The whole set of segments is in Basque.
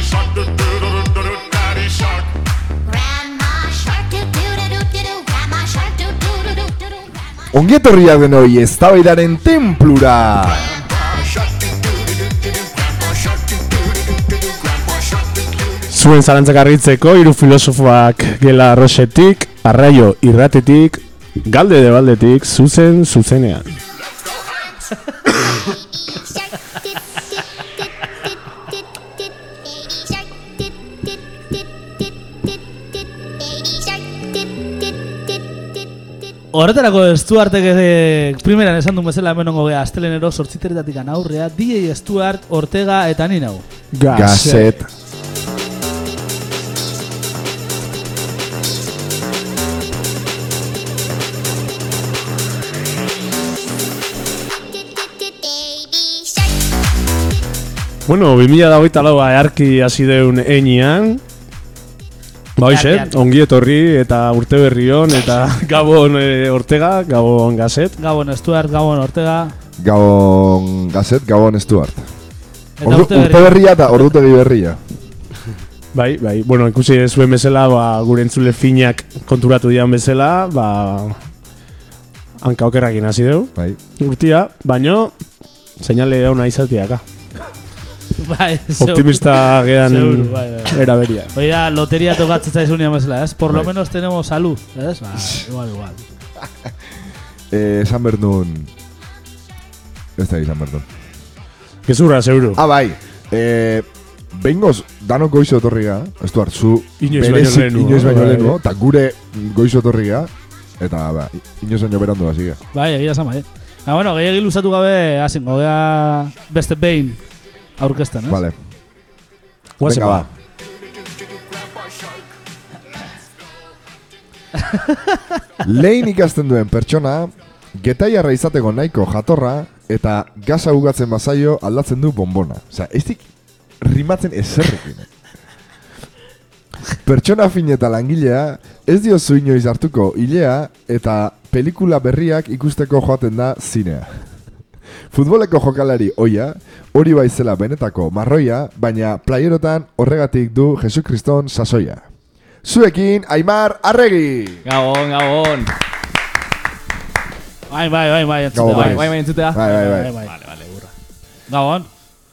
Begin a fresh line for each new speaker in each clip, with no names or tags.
shark, do do do do do, daddy shark.
Grandma shark doo doo doo doo doo doo. Grandma shark doo doo doo doo doo doo. Grandma
Ongietorriak denoi eztabaidaren templura.
Zuen zalantzak argitzeko hiru filosofoak gela rosetik, arraio irratetik, galde de baldetik, zuzen zuzenean.
shark doo doo doo doo doo doo. Baby shark doo doo doo doo doo doo. Baby shark doo doo doo doo doo.
Horretarako Stuartek ere primeran esan duen bezala hemen ongo geha Aztelenero sortziteretatik aurrea DJ Stuart, Ortega eta ni nau
Gazet.
Baby shark.
Bueno, 2008 laua earki hasi deun einian. Ba, hoxe,
Earki, earki.
ongi etorri eta urte berri hon, eta gabon eh, Ortega, gabon gazet.
Gabon Stuart, Gabon Ortega
Gabon gazet, gabon Stuart.
Eta
Ordu,
urte
urte
berri
berria eta ordutegi berria.
Bai, bai, bueno, ikusi zuen bezala, ba, gure entzule finak konturatu dian bezala, ba, hanka okerrakin hasi deu.
Bai.
Urtia, baino, seinale hona izatiaka.
bai, zeu-
Optimista gean
Seguro, bai, bai, bai.
eraberia.
Hoi da, loteria tokatzen zaizunean bezala, ez?
Bai.
Por lo menos tenemos salud, ez? Ba, igual, igual
Eh, esan berdun... Ez da izan berdun.
Gezurra, seguro.
Ah, bai. Eh, Bengoz, danok goizo etorri ga, Stuart, zu
Inoiz baino
berezi-
lehenu,
inoiz baino
bai.
lehenu, eta gure goizo etorri ga, eta ba, inoiz baino berandu hasi ga.
Bai, egia sama, eh? Ah, bueno, gehiagin luzatu gabe hazin gogea beste behin aurkezten, ez?
Vale.
Guazen
venga,
ba.
ba. Lehen ikasten duen pertsona, getaiarra izateko nahiko jatorra, eta gaza ugatzen bazaio aldatzen du bombona. Osea, ez dik rimatzen ezerrekin. Pertsona fin eta langilea, ez dio inoiz hartuko hilea, eta pelikula berriak ikusteko joaten da zinea. Futboleko jokalari oia, hori bai zela benetako marroia, baina playerotan horregatik du Jesu Kriston sasoia. Zuekin, Aimar Arregi!
Gabon, gabon.
Bai, bai, bai, bai, entzute,
Gabon,
Bai,
Bai.
bai, bai, entzutea.
Bai, bai, bai.
Vale, vale, burra. Gabon,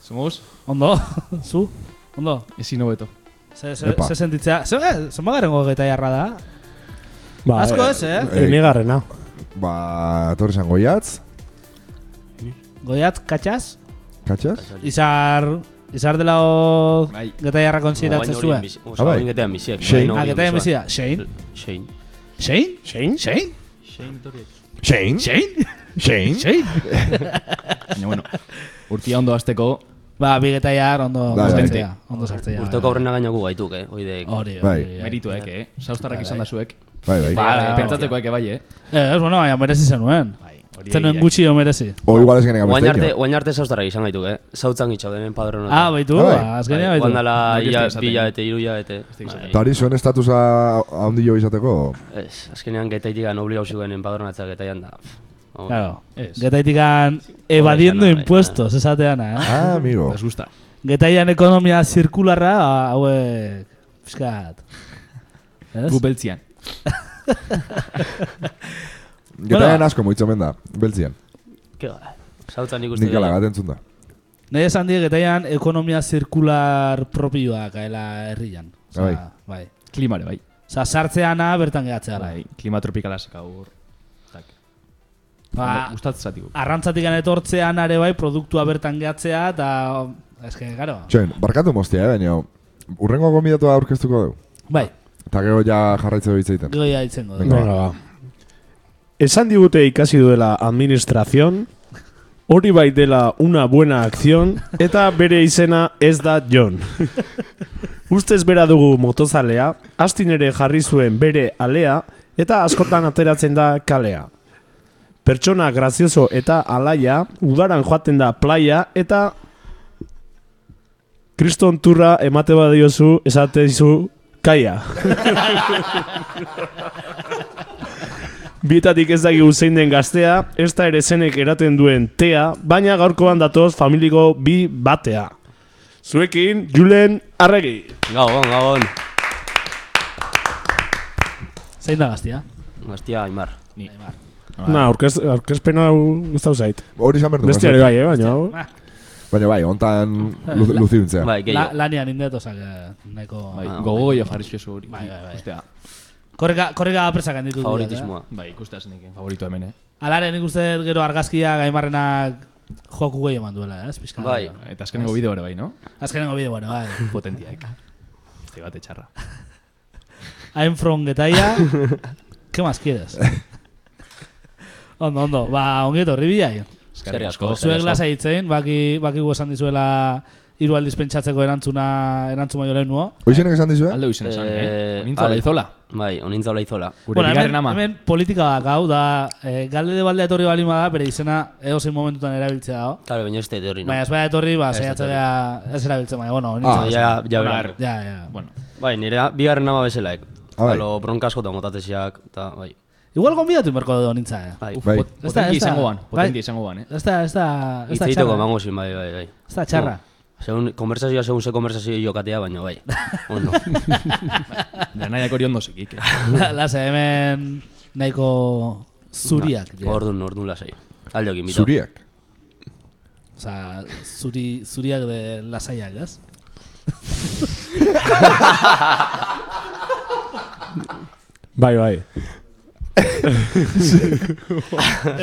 Zumuz,
ondo, zu, ondo.
ezin hobeto.
Ze, ze,
Epa.
ze sentitzea, ze, eh, ze magarengo geta jarra da?
Ba,
Asko ez, eh?
Eh.
Enegarrena.
Ba, torri zan goiatz,
Goiat, katxaz,
katxas?
izar, izar dela o
Bai.
geta jarra konsideratzen zuen.
Ah, bai.
Osain getean biziak.
Shane.
Ah, geta jarra bizia, Shane?
Shane.
Shane?
Sein?
Shane?
Shane?
Shane?
Shane?
Shane?
Baina, bueno, urtia ondo azteko,
Ba, bi geta jar, ondo
Bai, bai.
sartzea, ondo sartzea.
Urtoko aurrena gaina gu gaituk, eh? Oidek.
Bai, Hori,
Bai.
hori,
merituek, eh? Saustarrak izan da zuek.
Bai, bai.
Ba,
bai.
pentsatzekoek ebai, eh?
Eh, ez, bueno, baina merezi zenuen.
Hori
Zenuen
egia.
gutxi o merezi.
O igual ez genega
Oain arte,
besteño.
oain arte zaustara izan gaituk, eh? Zautzan gitxau denen padronotan.
Ah, baitu,
Ah, bai.
ba, azkenean baitu.
Guandala
Nik ez
ia,
dut esaten.
pila eta iruia eta...
esaten.
Eta hori zuen estatusa handi jo izateko,
Bai, Ez, azkenean getaitik an obligau ziguen enpadronatza getaian da. pff, hau.
Claro.
Ez.
Getaitik evadiendo
Hori esan da,
impuestos, esateana, eh?
ah, amigo.
Ez gusta.
Getaian ekonomia zirkularra, ba, hauek, pixkat. Ez?
Gu beltzian.
Getaren asko moitzo da, beltzian.
Ke gara. Zautzan ikusten
Nik alagat entzun da.
Nahi esan die getaian ekonomia zirkular propioa gaela herrian. Osea,
Bai.
bai.
Klimare, bai.
Osa, sartzeana bertan gehatzea da.
Bai, klima tropikala sekaur. Tak.
Ba,
Gustat zatigu.
arrantzatik etortzean are bai produktua bertan gehatzea, eta, eske, garo.
Txoen, barkatu mostia, eh, baina urrengo gomidatua aurkeztuko dugu.
Bai,
Eta gero ja jarraitze dugu itzeiten.
goia ditzen godu.
Venga, ba. Esan digute ikasi duela administrazion, hori bai dela una buena acción, eta bere izena ez da John. Ustez bera dugu motozalea, astin ere jarri zuen bere alea, eta askotan ateratzen da kalea. Pertsona grazioso eta alaia, udaran joaten da playa, eta kriston turra emate badiozu esatezu kaia. Bietatik ez dakigu zein den gaztea, ez da ere zenek eraten duen tea, baina gaurkoan datoz familiko bi batea. Zuekin, Julen Arregi.
Gabon, gabon.
Zein da gaztia?
Hostia, Aimar.
Na, aurkez, aurkezpen hau guztau zait.
Hori izan berdu.
Beste ere bai, eh, baina hau.
Ah.
Baina bai, hontan lu- luziuntzea.
Bai,
La,
gehiago.
lanean indet, osak, nahiko...
Bai,
Ah,
gogo goia jarri zuezu hori.
Bai, bai, bai.
Ustea,
Korrika, korrika presak handitu. dira,
Favoritismoa.
bai, ikustea zenekin, favorito hemen, eh?
eh? Alare, nik uste dut gero argazkia gaimarrenak joku gehi eman duela, eh? ez? Pizkan,
Bai.
Eta azkenengo bideo ere bai, no?
Azkenengo bideo, bueno, bai.
Potentiaek. Este bate txarra.
I'm from Getaia. ¿Qué más quieres? ondo, ondo. Ba, ongi etorri bilai.
Eskerrik asko.
Zuek lasa hitzein, baki, baki esan dizuela hiru aldiz pentsatzeko erantzuna, erantzun baino lehen nuo.
Hoizenek esan dizue?
Alde huizen esan, eh?
Eh,
Nintza
ale.
laizola.
Bai, onintza hola izola.
Gure bueno,
hemen,
bigarren ama.
hemen politika da gau, da eh, galde de baldea etorri balima da, bere izena edozein momentutan erabiltzea da.
Claro, baina ez teori, no?
Baina ez bada etorri, ba, saiatzea ez erabiltzen, baina, bueno, onintza.
Ah, ja, ja,
Bueno,
bera.
arre.
Ja, ja.
Bueno,
Bai, nire bigarren ama bezalaek.
Ah, bai.
Alo, bronkasko eta motatesiak, eta bai.
Igual gonbidatu inberko da onintza, eh?
Bai,
uf,
Bai.
pot-
Ez da, ez
potentia
da.
izango ban,
Bai.
potentia izango ban, eh?
Ez da, ez da, ez da
hitzeiteko
txarra.
emango zin, bai, bai, bai.
Ez da txarra.
Segun, konversazioa segun ze konversazio jokatea, baina bai. Ondo.
Da nahiak hori ondo zekik, eh?
Lase, hemen nahiko zuriak. dira.
Ordun, ordun lasai. Alde egin bito.
Zuriak.
Osa, zuri, zuriak de lasaiak, ez?
Bai, bai.
Ez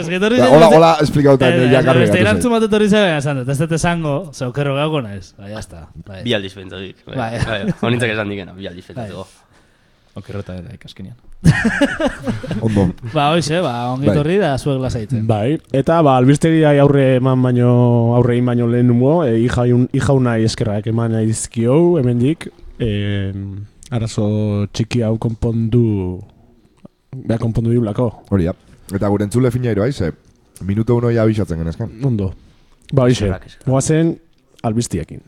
getorri
Da, Ba, Hola, hola, esplikauta.
Ez,
Ja, garbi
beste
gatu
erantzun
zen.
bat etorri zebe, esan dut, ez dut esango, zaukerro gauko naiz. Ba, jazta. Bai.
Bi aldiz pentsatik. Bai.
Bai.
bai. Honintzak esan dikena, bi aldiz Oh. pentsateko.
Okerrota ere ikaskenean.
Ondo.
Ba, hoxe, ba, ongi
Bai.
etorri da zuek lasaitzen.
Bai, eta ba, albistegiai aurre eman baino, aurre egin baino lehen nuo, e, ijaun, ijaunai eskerrak eman nahi dizkio, hemendik, e, arazo txiki hau konpondu, beha konpondu diulako,
Hori da. Eta gure entzule fina bai, ero, haize. Minuto uno ja abixatzen genezkan.
ondo. Ba, hoxe,
Eskerrak, eskerrak.
goazen albistiekin.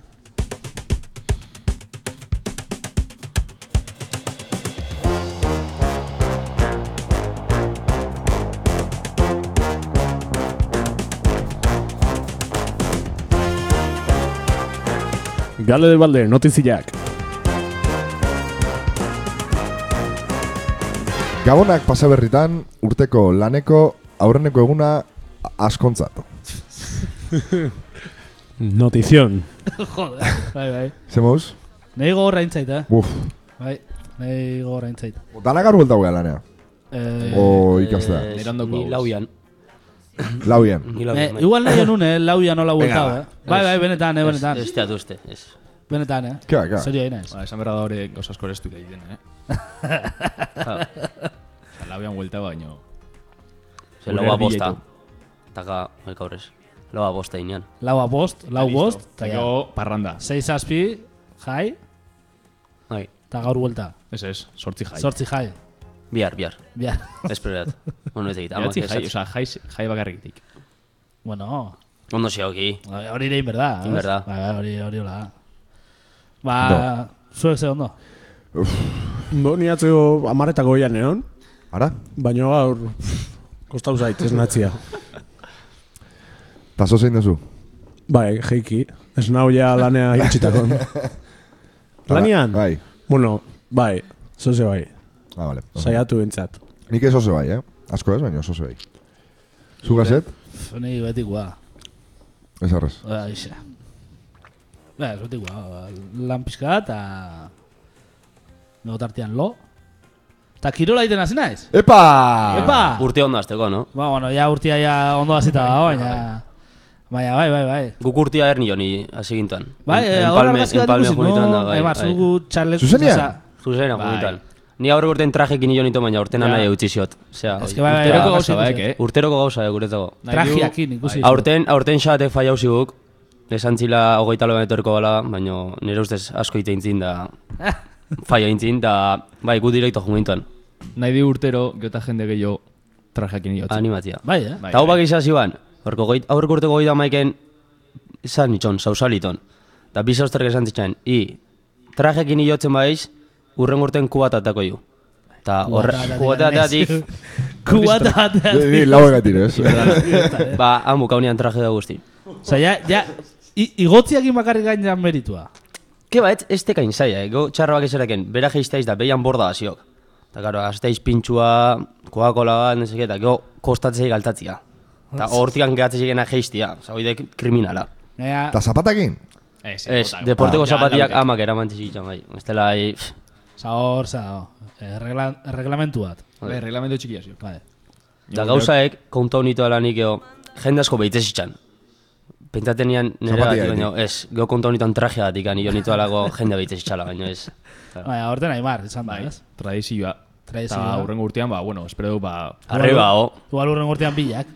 Gale de balde, notiziak.
Gabonak pasaberritan urteko laneko aurreneko eguna askontzat.
Notizion.
Joder, bai, bai.
Zemoz?
Nei gogorra intzait, eh?
Buf.
Bai, nei gogorra intzait.
Dana gaur buelta guea lanea.
Eh,
O ikastea.
Nerandoko
Ni
hau.
lauian.
Lauien.
Ni
eh,
lauian. bai.
igual nahi honun, eh? Lauia nola bueltau, eh? Bai,
Ez.
bai, benetan, eh, benetan.
Ez teatu uste, ez.
Benetan, eh?
Kea, kea.
Serio egin naiz.
Ba, esan berra da hori gauza asko ere estudia egiten, eh?
Ja,
Eta Lauian vuelta baino.
Ze
Gure
laua
erdi
bosta.
jaitu.
Taka, bai aurrez. Laua bosta inean.
Laua bost, lau bost, eta ja.
Gero parranda.
Sei zazpi, jai,
Bai,
eta gaur buelta.
Ez ez, sortzi jai.
Sortzi jai.
bihar, bihar.
Bia.
Esperat. bueno, ez egit. Amak
Behatzi jai,
ez.
oza, jai, jai bakarrikitik.
Bueno,
Ondo xeoki.
hori ere inberda. ez?
Inberda.
Bai, bai, hori hori hola. da. Ba, zuek ze ondo.
Bo, ni atzo amaretako goian egon,
Ara?
baina gaur kostau zait, ez natzia.
Tazo zein duzu?
Bai, jeiki. Ez nau ja lanea itxitakon. Lanean?
Bai.
Bueno, bai, zoze bai.
Ah, vale.
Saiatu entzat.
Nik ez oso bai, eh? Asko ez, baina oso bai. Zugazet?
Pff, Ni betik gua.
Ez arrez.
Ba, ixe. Ba, ez betik gua. Lan pixka eta... Nego tartean lo. Eta kirola egiten hasi naiz.
Epa! Ah,
Epa!
Urte ondo azteko, no?
Ba, bueno, ja urtia ja ondo hasita da, baina... Baina, bai, bai, bai.
Guk urtia erni joni, hasi gintan.
Bai,
En-
eh,
Empalme-
ahora argazki bat
Empalme
ikusi,
junitan
no?
da, bai,
Bai,
bai.
zugu txarlet...
Zuzenean?
Zuzena,
Bai.
junitan. Ni aurre urten trajekin nio nitu, baina urtena nahi utzi ziot. Osea,
Ez que bai, bai,
urterako
bai,
gauza-
bai,
baek,
bai.
eh?
urteroko gauza, eh, guretzako. bai.
Trajiakin ikusi.
Aurten, aurten xatek fai hausi guk, esan zila hogeita loan etorko gala, baina nire ustez asko ite intzin da, fai intzin da, bai, gu direkto jungintuan,
Nahi di urtero, geota jende gehiago trajekin jotzen.
animatia.
Bai, eh?
Bai,
Eta hau
bai.
bak izaz iban, aurko goit, aurreko urteko goita maiken, izan nitxon, zauzaliton. Eta bi zauzterk esan zitzen, i, trajekin iotzen baiz, urren urten kubatatako ju. Eta horre, kubatatatik,
Kubatatatik.
Ni lau egatir, ez?
ba, han bukaunean traje da guzti.
Osa, ja, ja, I, igotziakin bakarrik gainean meritua.
Ke ba, ez, ez tekain zaila, eh? Go, txarroak ezeraken, bera geiztaiz da, beian borda hasiok. Eta, karo, azteiz pintxua, koakola bat, nezak eta, go, kostatzei galtatzia. Eta hortikan gehatzei egena geiztia, zagoidek kriminala.
Gaina,
Eta zapatakin?
Ez,
Ez,
botak.
deporteko
Ah,
zapatiak
ja,
amak eraman zizitzen bai. Ez dela, eh, pff,
zaor, zaor, eh, regla, reglamentu bat.
Bai, reglamento txikia zio.
Vale.
da gauzaek, konta honito alanik, eo, jende asko behitez zitzan. Pentsaten nian nire
Zapatiak
gatik, baino, ez, geho konta honitoan trajea gatik, nio nitu alago jende behitez zitzala, baino, ez.
Baina, horten Aimar, izan da,
Bai,
ez?
tradizioa.
Tradizioa.
Eta hurrengo urtean, ba, bueno, espero dut, ba,
Arreba, o.
Igual urren urtean bilak.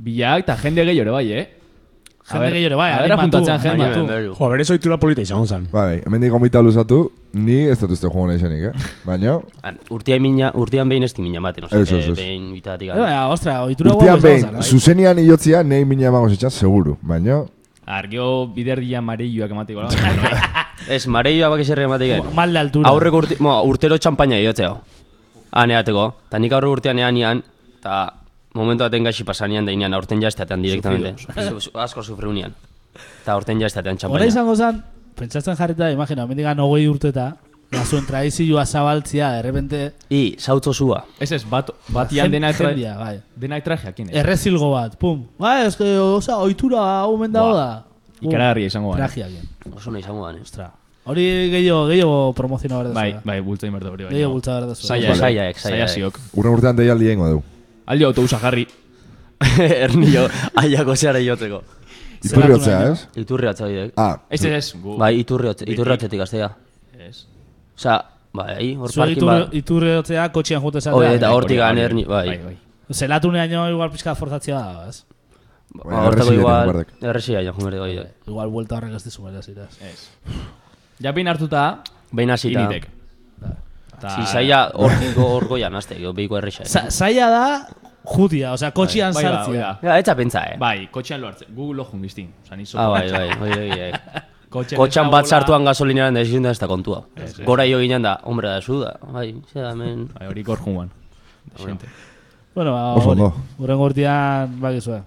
bilak eta jende gehiore bai, eh? A
Jende
ber,
gehiore, bai,
a ber,
animatu,
apuntatzen jende,
animatu.
animatu.
Berdu.
Jo, bere zoitura polita izan zan.
Bai, hemen digo mita luzatu, ni ez dut uste jugo nahi zenik, eh? Baina,
Ah, Urtean mina, urtean behin ez di mina maten, oza,
Ez, ez, ez.
behin bitatik.
Eh, Baina, ostra, oitura guapo
urtean
izan
behin,
zara.
zuzenian iotzia, nahi mina emango zitzan, seguru. Baina,
Argio biderdia amarilloak emateko la.
Ez, mareioa bak eserre ematik gain.
Mal de altura.
Aurreko urte, mo, urtero txampaina iotzeo. Aneateko. Ta nik aurre urtean ean ean, ta momentu baten gaxi pasanean da inean, aurten jazteatean direktamente. Su- su- Asko sufriu nian. Ta aurten jazteatean
Hora
txampaina.
izango zen, pentsatzen jarrita, imagina, mendigan hogei urteta, da zuen tradizioa zabaltzia, de repente,
I, zautzo zua.
Ez ez, bat, batian
Jen-
denak tra...
jendia, bai.
Denak trajeakin, eh?
errezilgo bat, pum. Ba, eske, oza, oitura hau mendao
Buah.
da. Pum,
Ikaragarria izango da, eh?
Tragiakin.
Oso nahi izango da, ne?
Ostra. Hori gehiago, gehiago promoziona behar
Bai,
dezula.
bai, bultzain berdo hori.
Gehiago bultza behar dezula.
Zaila,
Vale.
zaila,
Saiaek,
zaila
saiaek.
ziok.
urren urtean deialdi egingo dugu.
Aldi autobusa jarri.
Ernio, aiako zeara iotzeko.
Iturri hotzea,
nahi,
ez?
Iturri atzaidek.
Ah,
Ez ez ez. gu-
Bai, iturri hotz- iturri hotzetik gaztea.
Ez.
Osa, bai, hor
Zuek
parkin
iturri,
bat.
iturri hotzea kotxean jute
Hoi, eta
zatea.
hortik
Hori, hori.
anerni, bai.
bai.
Zelatuneaino igual pixka forzatzea da, ez?
Bueno,
Hortako
erresilia joan
igual,
berdek.
erresia joan berdek, bai, bai.
Igual vuelta horrek ez dizu beraz, iraz.
Ja behin hartuta,
Behin hasita.
initek. Ta-
Zizaia hortiko orgoian azte, jo, behiko erresa.
Za- Zaila da, jutia, osea, kotxean
Bai, bai,
sartzea.
bai.
Ja, etxa pentsa, eh?
Bai, kotxean lo hartze. Gu lo jungiztin. Osa, nizo.
Ah, bai, bai, bai, bai, bai.
Kotxean,
Kotxan
ez
bat
dagoela-
sartuan gasolinaren da ezin da ez da kontua. Gora jo ginen da, hombre da zu da. Bai, zera, hemen...
Bai, hori gor junguan.
Bai.
Gente.
Bueno, ba,
Oso
hori.
ondo.
Urrengo urtean, bakizue.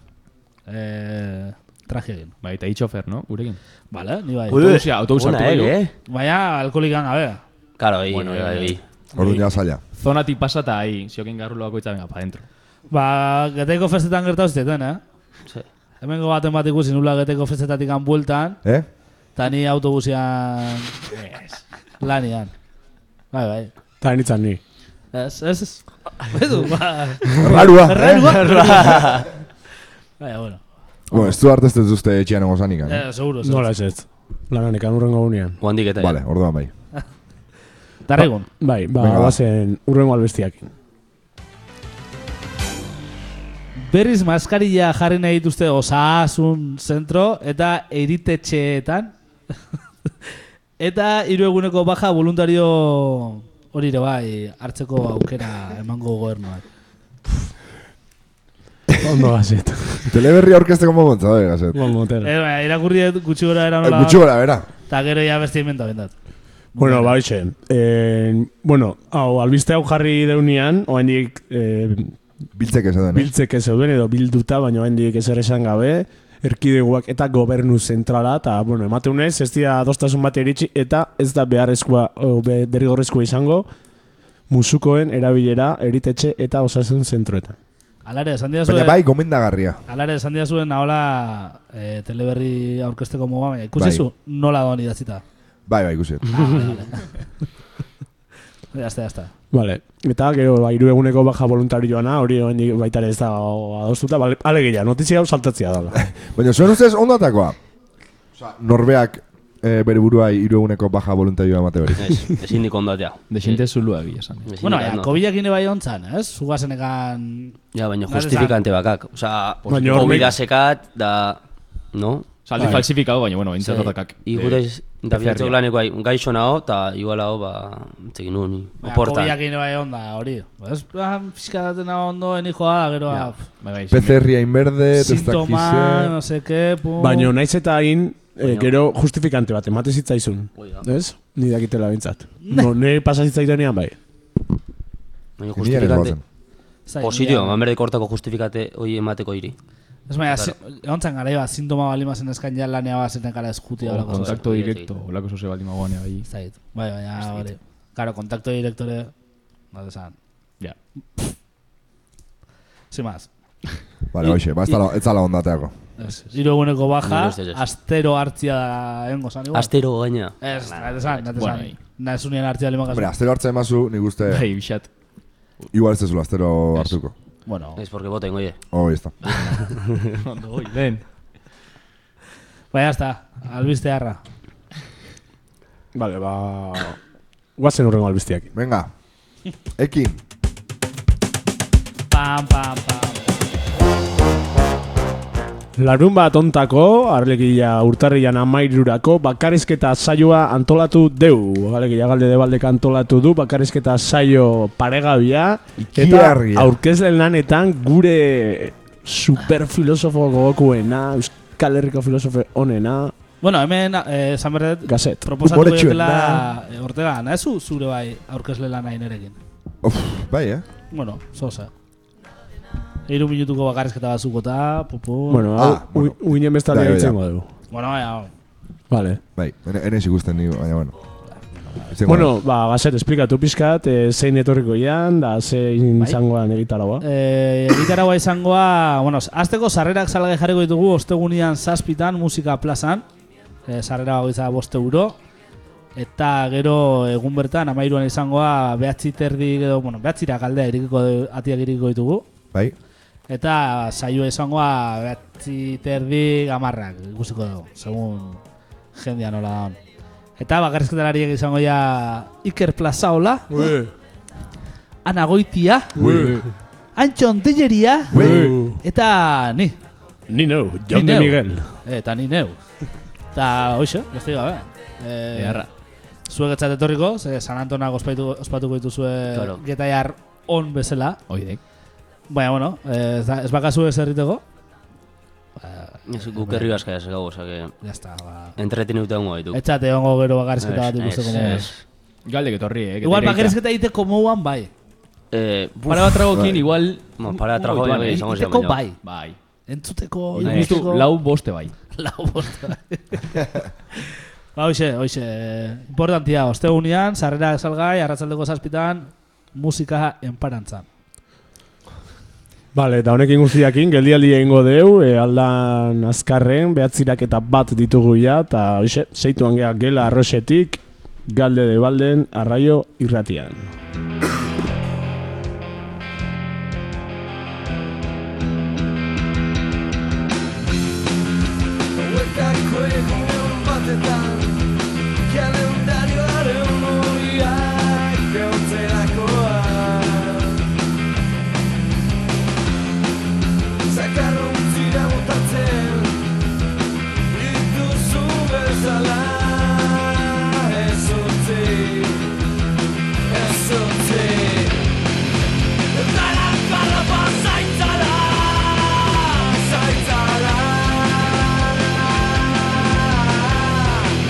Eh, traje egin.
Bai, eta itxofer, no? Gurekin.
Vale, ni bai.
Ui. Autobusia, autobus
Ona,
hartu
eh,
baino.
eh?
Baina alkoholikan gabe.
Karo, hi,
Bueno, eh,
bai,
ja,
bai,
ja.
hi.
orduan ja zaila. eh?
Zonatik pasata, ahi, ziokin garrulo bakoitza, venga, pa dentro.
Ba, geteko festetan gertatu ziteten, eh?
Ze.
Hemengo baten bat ikusi nula geteko festetatik bueltan,
Eh?
eta ni autobusian lanian. Bai, bai.
Eta nintzen ni.
Ez, ez, ez. Bedu, ba.
Rarua, eh?
Errarua. Baina, Bai, bueno.
Bueno, ez du hartez ez duzte etxean egon zanik, eh?
Eh, seguro, seguro.
Nola ez ez. Lanan ekan urrengo gunean.
Guandik eta...
Vale,
eh.
orduan bai.
Tarregun.
Bai, ba,
Venga, ba.
bazen urrengo albestiakin.
Berriz maskarilla jarri nahi dituzte osasun zentro eta eritetxeetan. eta hiru eguneko baja voluntario hori ere bai hartzeko aukera emango gobernuak.
Ondo gazet.
Teleberri aurkezteko momentza bai, da, gazet.
Bon motera.
Eh, baina, irakurri dut gutxi gora era nola.
Gutxu gara, bera.
Eta gero ja beste inventa bentat.
Bueno, ba, hoxe. Eh, bueno, hau, albiste hau jarri deunean, oaindik eh,
Biltzek ez den, eh?
biltzek ez zeuden edo bilduta, baina oaindik ezer esan gabe, erkidegoak eta gobernu zentrala, eta, bueno, emateunez, ez dira adostasun bat iritsi, eta ez da beharrezkoa, o, be, derrigorrezkoa izango, musukoen erabilera, eritetxe eta osasun zentroetan.
Alare, esan dira
Baina
zuen.
bai, gomendagarria.
Alare, esan dira zuen ahola eh, teleberri aurkesteko moga, baina
Bai.
ikusizu nola doan idatzita.
Bai, bai, ikusi.
Ya está, ya está.
Vale. Eta gero, ba, hiru eguneko baja voluntarioana, hori oaindik baita ere ez da adostuta, bale, alegia, notizia hau saltatzea dala.
Baina, zuen ustez ondo atakoa? Osa, norbeak eh, bere burua irueguneko baja voluntarioa emate hori.
Ez, ezin dik ondatea.
Desinte zulua egia esan. eh.
Ezin
Bueno,
dik
ja,
ondo.
kobilak ine bai ontzan, ez? Zugazen ekan
Ja, baina
Nare
justifikante bakak. Osa,
Baina hor
COVID
nik-
sekat, da... No?
Saldi falsifikado, baina, bueno,
Ze,
intzatorrakak.
Igurez, da bilatzeko laneko hain, gaixo naho, eta igual hau, ba, txekin nuen, oportan.
Kobiak ine bai onda, hori. Ez, ah, pixka datena ondo, eni joa, gero, ja.
Bai, bai, sin-
PCR hain berde, testak
sintoma, no sé que, pum.
Baina naiz eta hain, eh, gero justifikante bat, emate zitzaizun. Ez? Ni dakitela bintzat. No, ne pasa zitzaitanean bai.
Ni
Baina
ere
justifikante.
goazen.
Zain,
Positio,
ja.
eman berdeko hortako justifikate hori emateko hiri.
Ez baina,
ba. Claro.
si- egon zen gara, iba, sintoma bali mazen eskan ja lanea bazeten gara eskuti
O
horako
contacto
zozio,
directo,
tío.
holako zoze baldin magoanea bai.
Ez dakit. Bai, baina, hori. Karo, kontakto direktore, bat esan.
Ja.
Sin más.
Vale, hoxe, ba, ez dala- ez zala ondateako.
Hiru eguneko baja,
Nire ustez ez.
astero hartzia da engo zan, igual.
Astero gaina.
Ez, nate zan, nate
Bueno,
zan.
ahí.
Nate zunien hartzia lima
Hombre, astero hartzen emazu, nik uste,
Bai, bixat.
igual ez dezula astero hartuko.
Bueno,
Ez, porque boten, oie.
Oh, ya está.
Ondo, oi, lehen.
baina hasta, Bai, albiste harra.
Vale, ba... Guazen urrengo albiztiak.
Venga. Ekin,
Pam, pam, pam.
Larun bat ontako, arlekia urtarrian amairurako, bakarrizketa saioa antolatu deu. Alegia galde debaldek antolatu du, bakarrizketa saio paregabia. Eta
Ikiargia.
aurkezlen lanetan gure superfilosofo gogokuena, Euskal Herriko filosofe onena,
Bueno, hemen, eh, esan berdet,
gazet.
proposatu
Umoretsuek
dutela eh, hortela, nahezu zure bai aurkezle lan nahi nerekin.
Uf, bai, eh?
Bueno, zoza. Hiru minutuko bakarrizketa bazuko eta, pupu.
Bueno, hau,
Ah, bueno.
u- uinen
Da,
bestaldia
da, da.
ditzengo dugu.
bueno bai, baina,
Vale.
Bai, ene, ene ez ikusten ni, baina bueno. Zengo
Bueno, ba, gazet, esplikatu pizkat, eh, zein etorriko ian, da zein
Bai.
izangoan egitaragoa.
Eh, egitaragoa izangoa, bueno, azteko sarrerak salgai jarriko ditugu ostegunian zazpitan musika plazan. Eh, sarrera bagoitza bost euro. Eta gero egun bertan, amairuan izangoa behatzi terdi, edo, bueno, behatzira galdea irikiko, atiak irikiko ditugu.
Bai,
Eta saioa izangoa behatzi terdi gamarrak ikusiko dugu, segun jendia nola daun. Eta bakarrizketalariek izango ja Iker Plazaola, Ana Goitia, Antxon Telleria, eta ni,
Ni neu,
Ni
Jon de
neu.
Miguel.
eta ni neu. Eta hoxe, beste gabe. Eh,
Eharra.
Zuek etzat etorriko, ze San Antonak ospaitu, ospatuko dituzue
Claro.
getaiar on bezala.
Oidek.
Baina, bueno, eh, ez, da- ez bakazu ez erriteko.
Ez, Guk herri aska ez gau, osake.
Ya está, ba.
Entreteneuta hongo gaitu.
Etxate hongo gero bakarrizketa bat ikusteko moduan.
Galdek etorri, eh. que
Igual
tereita.
bakarrizketa egiteko moduan bai.
Eh, buf,
Para bat tragokin, igual...
Bueno, para
un-
trago
goituan,
bai,
eh.
izango ziren,
Egiteko
baina-
bai.
Bai.
Entzuteko,
Nik ustu,
ikusteko.
lau boste bai.
Lau bosta. ba, hoxe, hoxe. Importantia, ostegunean, sarrera salgai, arratzaldeko zazpitan, musika enparantzan.
Vale, eta honekin guztiakin, geldialdi egingo deu, e, aldan azkarren, behatzirak eta bat ditugu ja, eta hoxe, zeituan geha gela arroxetik, galde de balden, arraio irratian.
Zaitzala
bai,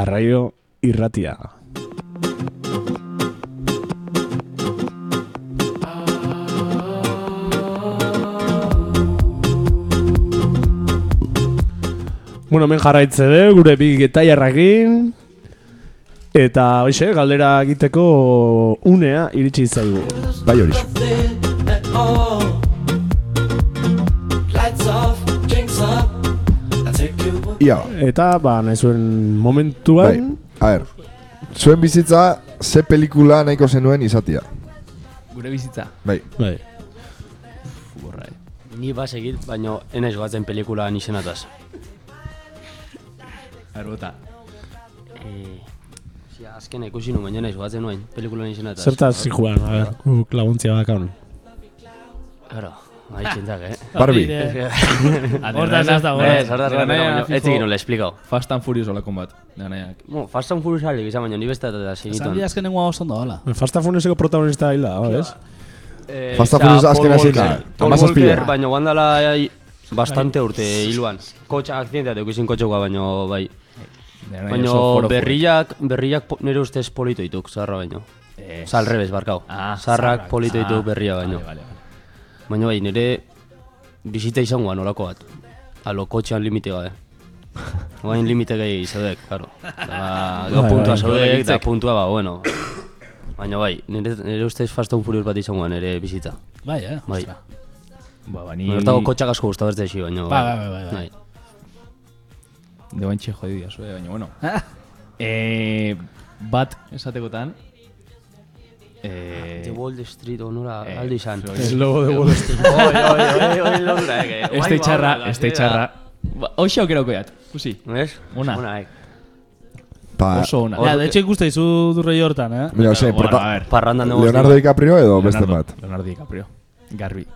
Arraio irratia. Bueno, hemen jarraitze de, gure bi getaiarrakin. Eta, hoxe, galdera egiteko unea iritsi zaigu.
Bai hori.
at all. Lights off, drinks up. I take you away.
Ia ba.
Eta, ba, nahi zuen
Bai,
momentuan,
a ber. Zuen bizitza, ze pelikula nahiko zenuen izatia.
Gure bizitza.
Bai.
Bai.
Borra, eh.
Ni ba segit, baina enaiz batzen pelikula nizenataz.
Arbota.
Eh, Osea, azkena ikusi nuen, baina enaiz batzen nuen, pelikula nizenataz.
Bai, zertaz zikuan, a ber, guk laguntzia badakan.
Claro, haitzen dak, eh?
Barbie.
Hortaz ez dago.
Ez, hartaz gara,
Nanaia,
baina ez egin
fijo,
nola esplikau.
Fast and Furious olakon bat. Nanaiak.
Bueno, Fast and Furious alde gizan, baina ni beste eta
Esan
ziniton.
dira Bai, azken nengoa oso ondo hola.
Fasta Funeseko protagonista hila, hau, ez?
Eh,
Fast and
eta
Furious Bai.
Paul
azkena
Walker.
zela,
Paul
hamazazpi.
Walker, baina guandala eh, bastante urte hiluan. Kotxa, akzidentea dukizin kotxekoa, baina bai.
Nanaia
Baina
oso foro
berriak, berriak po- nire ustez polito dituk, zaharra baino.
Eh,
Osa, alrebes, barkau.
Ah,
Zaharrak polito dituk berria
Vale,
baino.
vale, vale.
Baina bai, nire bizita izan guan olako bat. Alo, kotxean limite gabe. Guain limite gehi zeudek, karo. Da, gau
Bai,
puntua
bai.
zeudek, da puntua ba, bueno. Baina bai, nire, nire ustez Fast and Furious bat izan guan, nire bizita.
Bai, eh?
Bai.
Ba, bani...
Ni... Hortago kotxak asko guztu bertze esi, baina...
Bai, bai, bai, bai.
De bantxe jodidia, zue, baina, bueno.
Eh?
eh, bat, esatekotan... Eh,
The Wall Street onora
eh,
aldo izan.
Floyd.
Ez lobo de Wall Street.
Oi, oi, oi, oi, londra, eh.
Este itxarra, este itxarra. Ba, Hoxe aukerako eat, kusi.
¿Ves?
Ona.
Ona, eh.
Pa,
Oso ona.
Ja, de hecho ikuste izu durrei hortan, eh?
Mira, ose,
Bueno,
prota...
a ver,
Parrandan dugu.
Leonardo DiCaprio edo beste bat.
Leonardo DiCaprio. Garbi.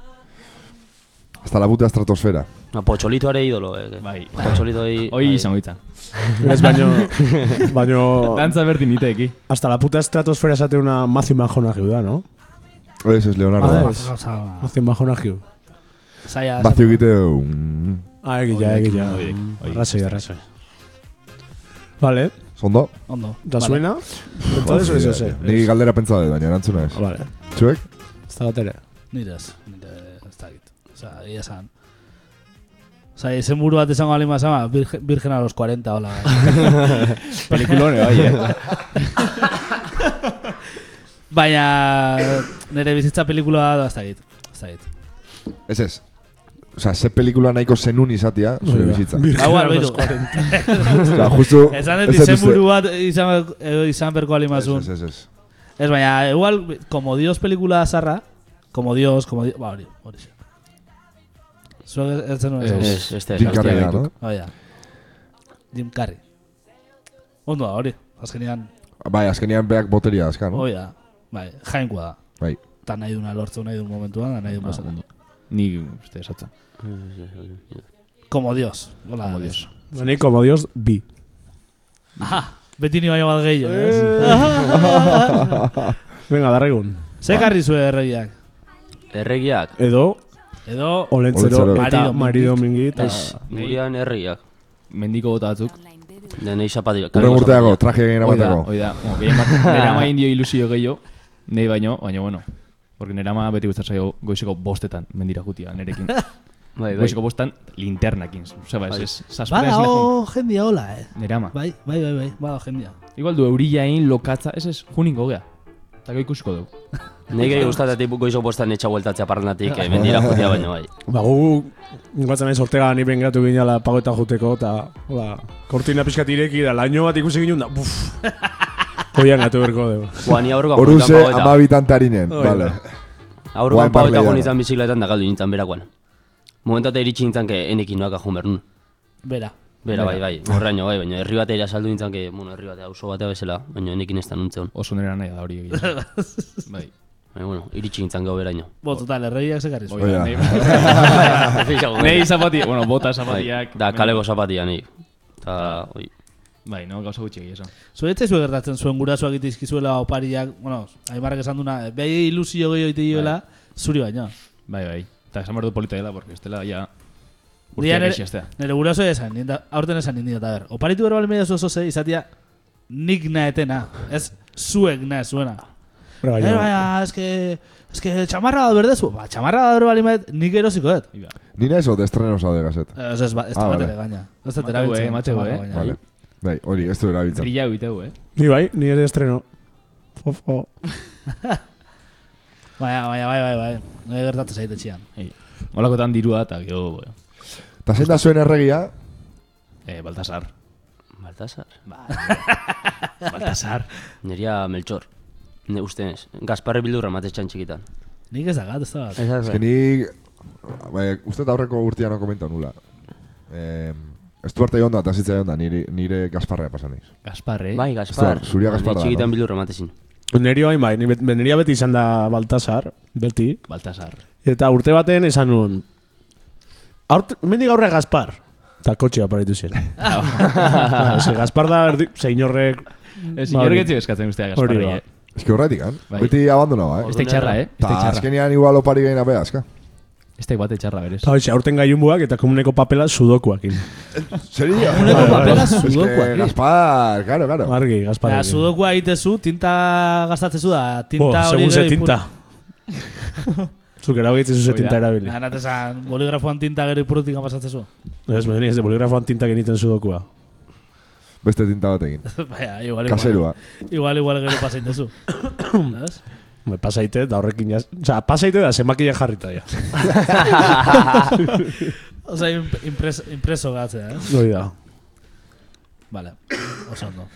Hasta la puta estratosfera.
No, Pocholito are ídolo, eh.
Bai.
Pocholito ahí...
Hoi izango ditan.
Ez, baino, baino,
Dantza berdin iteeki.
hasta la puta estratosfera esate una Matthew Mahona da, no?
Ez ez, Leonardo.
Ah, ez. Matthew Mahona giu.
Zaila,
Bazio egite... mm,
Ah, egila, egila. Arrazoi, arrazoi. Vale,
Zondo?
ondo.
da
Vale.
suena? Entonces, eso es, eh.
Ni galdera pentsa dut, baina erantzuna
Oh.
ez.
Vale,
Zuek?
ez da bat ere.
Nire ez, nire ez dakit. Osa, egia esan. Osa, izen buru bat esango alima esama, virgen, virgen a los 40, hola.
Pelikulone, bai, eh.
Baina, nire bizitza pelikula da, ez dakit. Ez dakit.
Ez ez. Osa, ze pelikula nahiko zenun izatia, zure
Bai,
bizitza.
Ba, guan, beitu.
Osa, justu...
Esan
ez
dut
dut
izen
uste-
buru bat izan, eh, izan berko alimazun.
Ez, ez, ez.
Ez baina, igual, como Dios pelikula zarra, como Dios, como Dios, ba, hori, hori xe. Zuek ez zenuen esan.
Es, este es.
Jim Carrey da,
hostia,
no?
Hau da. Jim Carrey. Ondo da, hori, azkenean,
Bai, azkenean beak boteria azka,
Oh.
no?
hori da. Bai, jainkoa da.
Bai.
Eta nahi duna lortzu, nahi dun momentuan, da nahi dun
Ba,
pasatzen.
ondo. Ni uste esatzen.
Como Dios. Hola,
Como Dios.
Ba, Ni, como Dios, bi.
Aha, beti ni baino bat gehiago, ez?
Venga, darregun.
Ze garri zuen erregiak?
Ah,
Erregiak.
Edo,
Edo,
olentzero
Olentzero.
eta
Marido
marido mingi eta...
Es, gurean erregiak.
Mendiko bota batzuk.
Denei zapatilak.
Urren urteago, traje egin
Hoi da,
amateko.
hoi da. Bueno, Gehien bat, nera ama indio ilusio gehiago. Nei baino, baina, bueno. Porque nera ama beti gustatzen zaio goizeko bostetan mendira jutia, nerekin.
Bai, bai.
Goizeko bostetan linternakin. Osa, ba, ez, ez,
Bai.
zazpitan
Bada,
esne jun.
oh, jendia hola, eh?
Nera ama.
Bai, bai, bai, bai, bada, jendia.
Igual du eurilla egin lokatza, ez ez, junin gogea. Eta goi ikusiko dugu.
Nei gehi gustatetik goizo bostan etxa bueltatzea parrandatik, eh, mendira jutia baino, bai.
Ba, gu guatzen naiz ortega ni bengratu ginala pagoeta juteko, eta, hola, kortina pixkat ireki da, laino bat ikusi ginen da, buf. Hoian gatu berko dugu.
Guani aurruko
Oruze,
pagoetan pagoeta.
amabitan tarinen, bale.
Aurruko
Guan
pagoeta
barlea.
guan izan bizikletan da galdu nintzen berakoan. Momentu eta iritsi nintzen, que enekin noak ajun bernun.
Bera.
Bera, bai, bai, horraino, bai, baina herri batera saldu nintzen, que, bueno, herri batea, auzo batea bezala, baina enekin ez da nuntzeon.
Oso nera nahi da hori egin. bai.
Baina, bueno, iritsi nintzen gau beraino.
Bo, total, erregiak ze garri zuen.
Hoi da,
Oia.
nei-
Fijago,
Nei zapati, bueno, bota
bai,
zapatiak.
da, kaleko zapatia nik. Ta, oi,
Bai, no, gauza gutxi egia esan.
Zuretze zuen gertatzen zuen gurasoak itizkizuela opariak, bueno, Aimarrek esan duna, eh, behi ilusio gehiago ite diola, zuri baino.
Bai, bai. Eta esan behar du polita dela, porque estela ya...
Dia
Urtiak
nere-
esi astea.
Nere guraso esan, ninda, aurten esan nindin, eta ber, oparitu bero bali medio oso ze, izatia, nik naetena, ez zuek nae zuena.
Bra,
Bai,
Eh, baina, eske, eske txamarra bat berdezu, ba, txamarra bat berdezu balimet, nik erosiko dut.
Ni nahi zaude estrenos hau de gazet.
Eh, Ez ez, ba, ez
Ah,
da bat
vale.
ere gaina. Ez da
Mateu,
erabiltzen.
eh, Mateu,
txamarra
eh.
gaina.
Vale. Bai, hori, ez du erabiltzen.
Trilla egiteu, eh?
Ni bai, ni ere estreno. Fofo.
Baina, baina, bai, bai, bai. Nei gertatu zaite txian.
Ei. Olakotan dirua eta gero, eh,
Ta zein da zuen erregia,
eh, Baltasar.
Baltasar.
Baltasar.
Neria Melchor. Ne ustenez. Gasparre bildurra matetxan txikitan.
Nik ez dakat, ez da bat.
Ez
ez que nik... Bai, uste eta aurreko urtia no komenta nula. Eh, ez du arte onda, eta zitza onda, nire, nire gasparrea pasan iz.
Gaspar, eh?
Bai, Gaspar.
Ostia, zuria Gaspar da,
Ni Txikitan
no?
bildurra matezin.
Nerio hain bai, ni bet- nerea beti izan da Baltasar, beti.
Baltasar.
Eta urte baten esan nuen. Aurt, mendik aurre Gaspar. Eta kotxe aparaitu ziren. Claro, ze Gaspar da, erdi, zein horrek...
Ez
Ba, hori.
inork etzi Eh, eskatzen ustea
Hori
Gasparri,
da.
eh?
Ez que horretik, an?
Bai.
Beti abandonaba, eh?
Este txarra, eh? Este
Ta
txarra.
azkenian igual opari gaina bea, eska.
Este bate txarra, berez.
Eta hoxe, aurten gaiunbuak eta komuneko papela sudokuak.
Seria?
Uneko papela
Es
sudokuak,
que
eh?
Gaspar, claro, claro.
Margi, Gaspar.
Ja, sudokua egitezu, tinta gastatzezu da, tinta hori...
segun ze
gero
tinta. Zuk erabaitzen zuze
Hoi da.
tinta erabili.
Nah, nat Ah, esan, boligrafoan tinta gero ipurutik amazatzezu.
Ez, medeni, ez de boligrafoan tinta geniten sudokua.
Beste tinta batekin.
Baina, igual, igual,
Kaserua.
igual, igual gero pasaitezu. Ez?
Me pasaite, da horrekin jaz... Osa, pasaite da, zenbakia jarrita ja.
Osa, impres, impreso gatzea, ez?
Hori da.
Vale, oso ondo.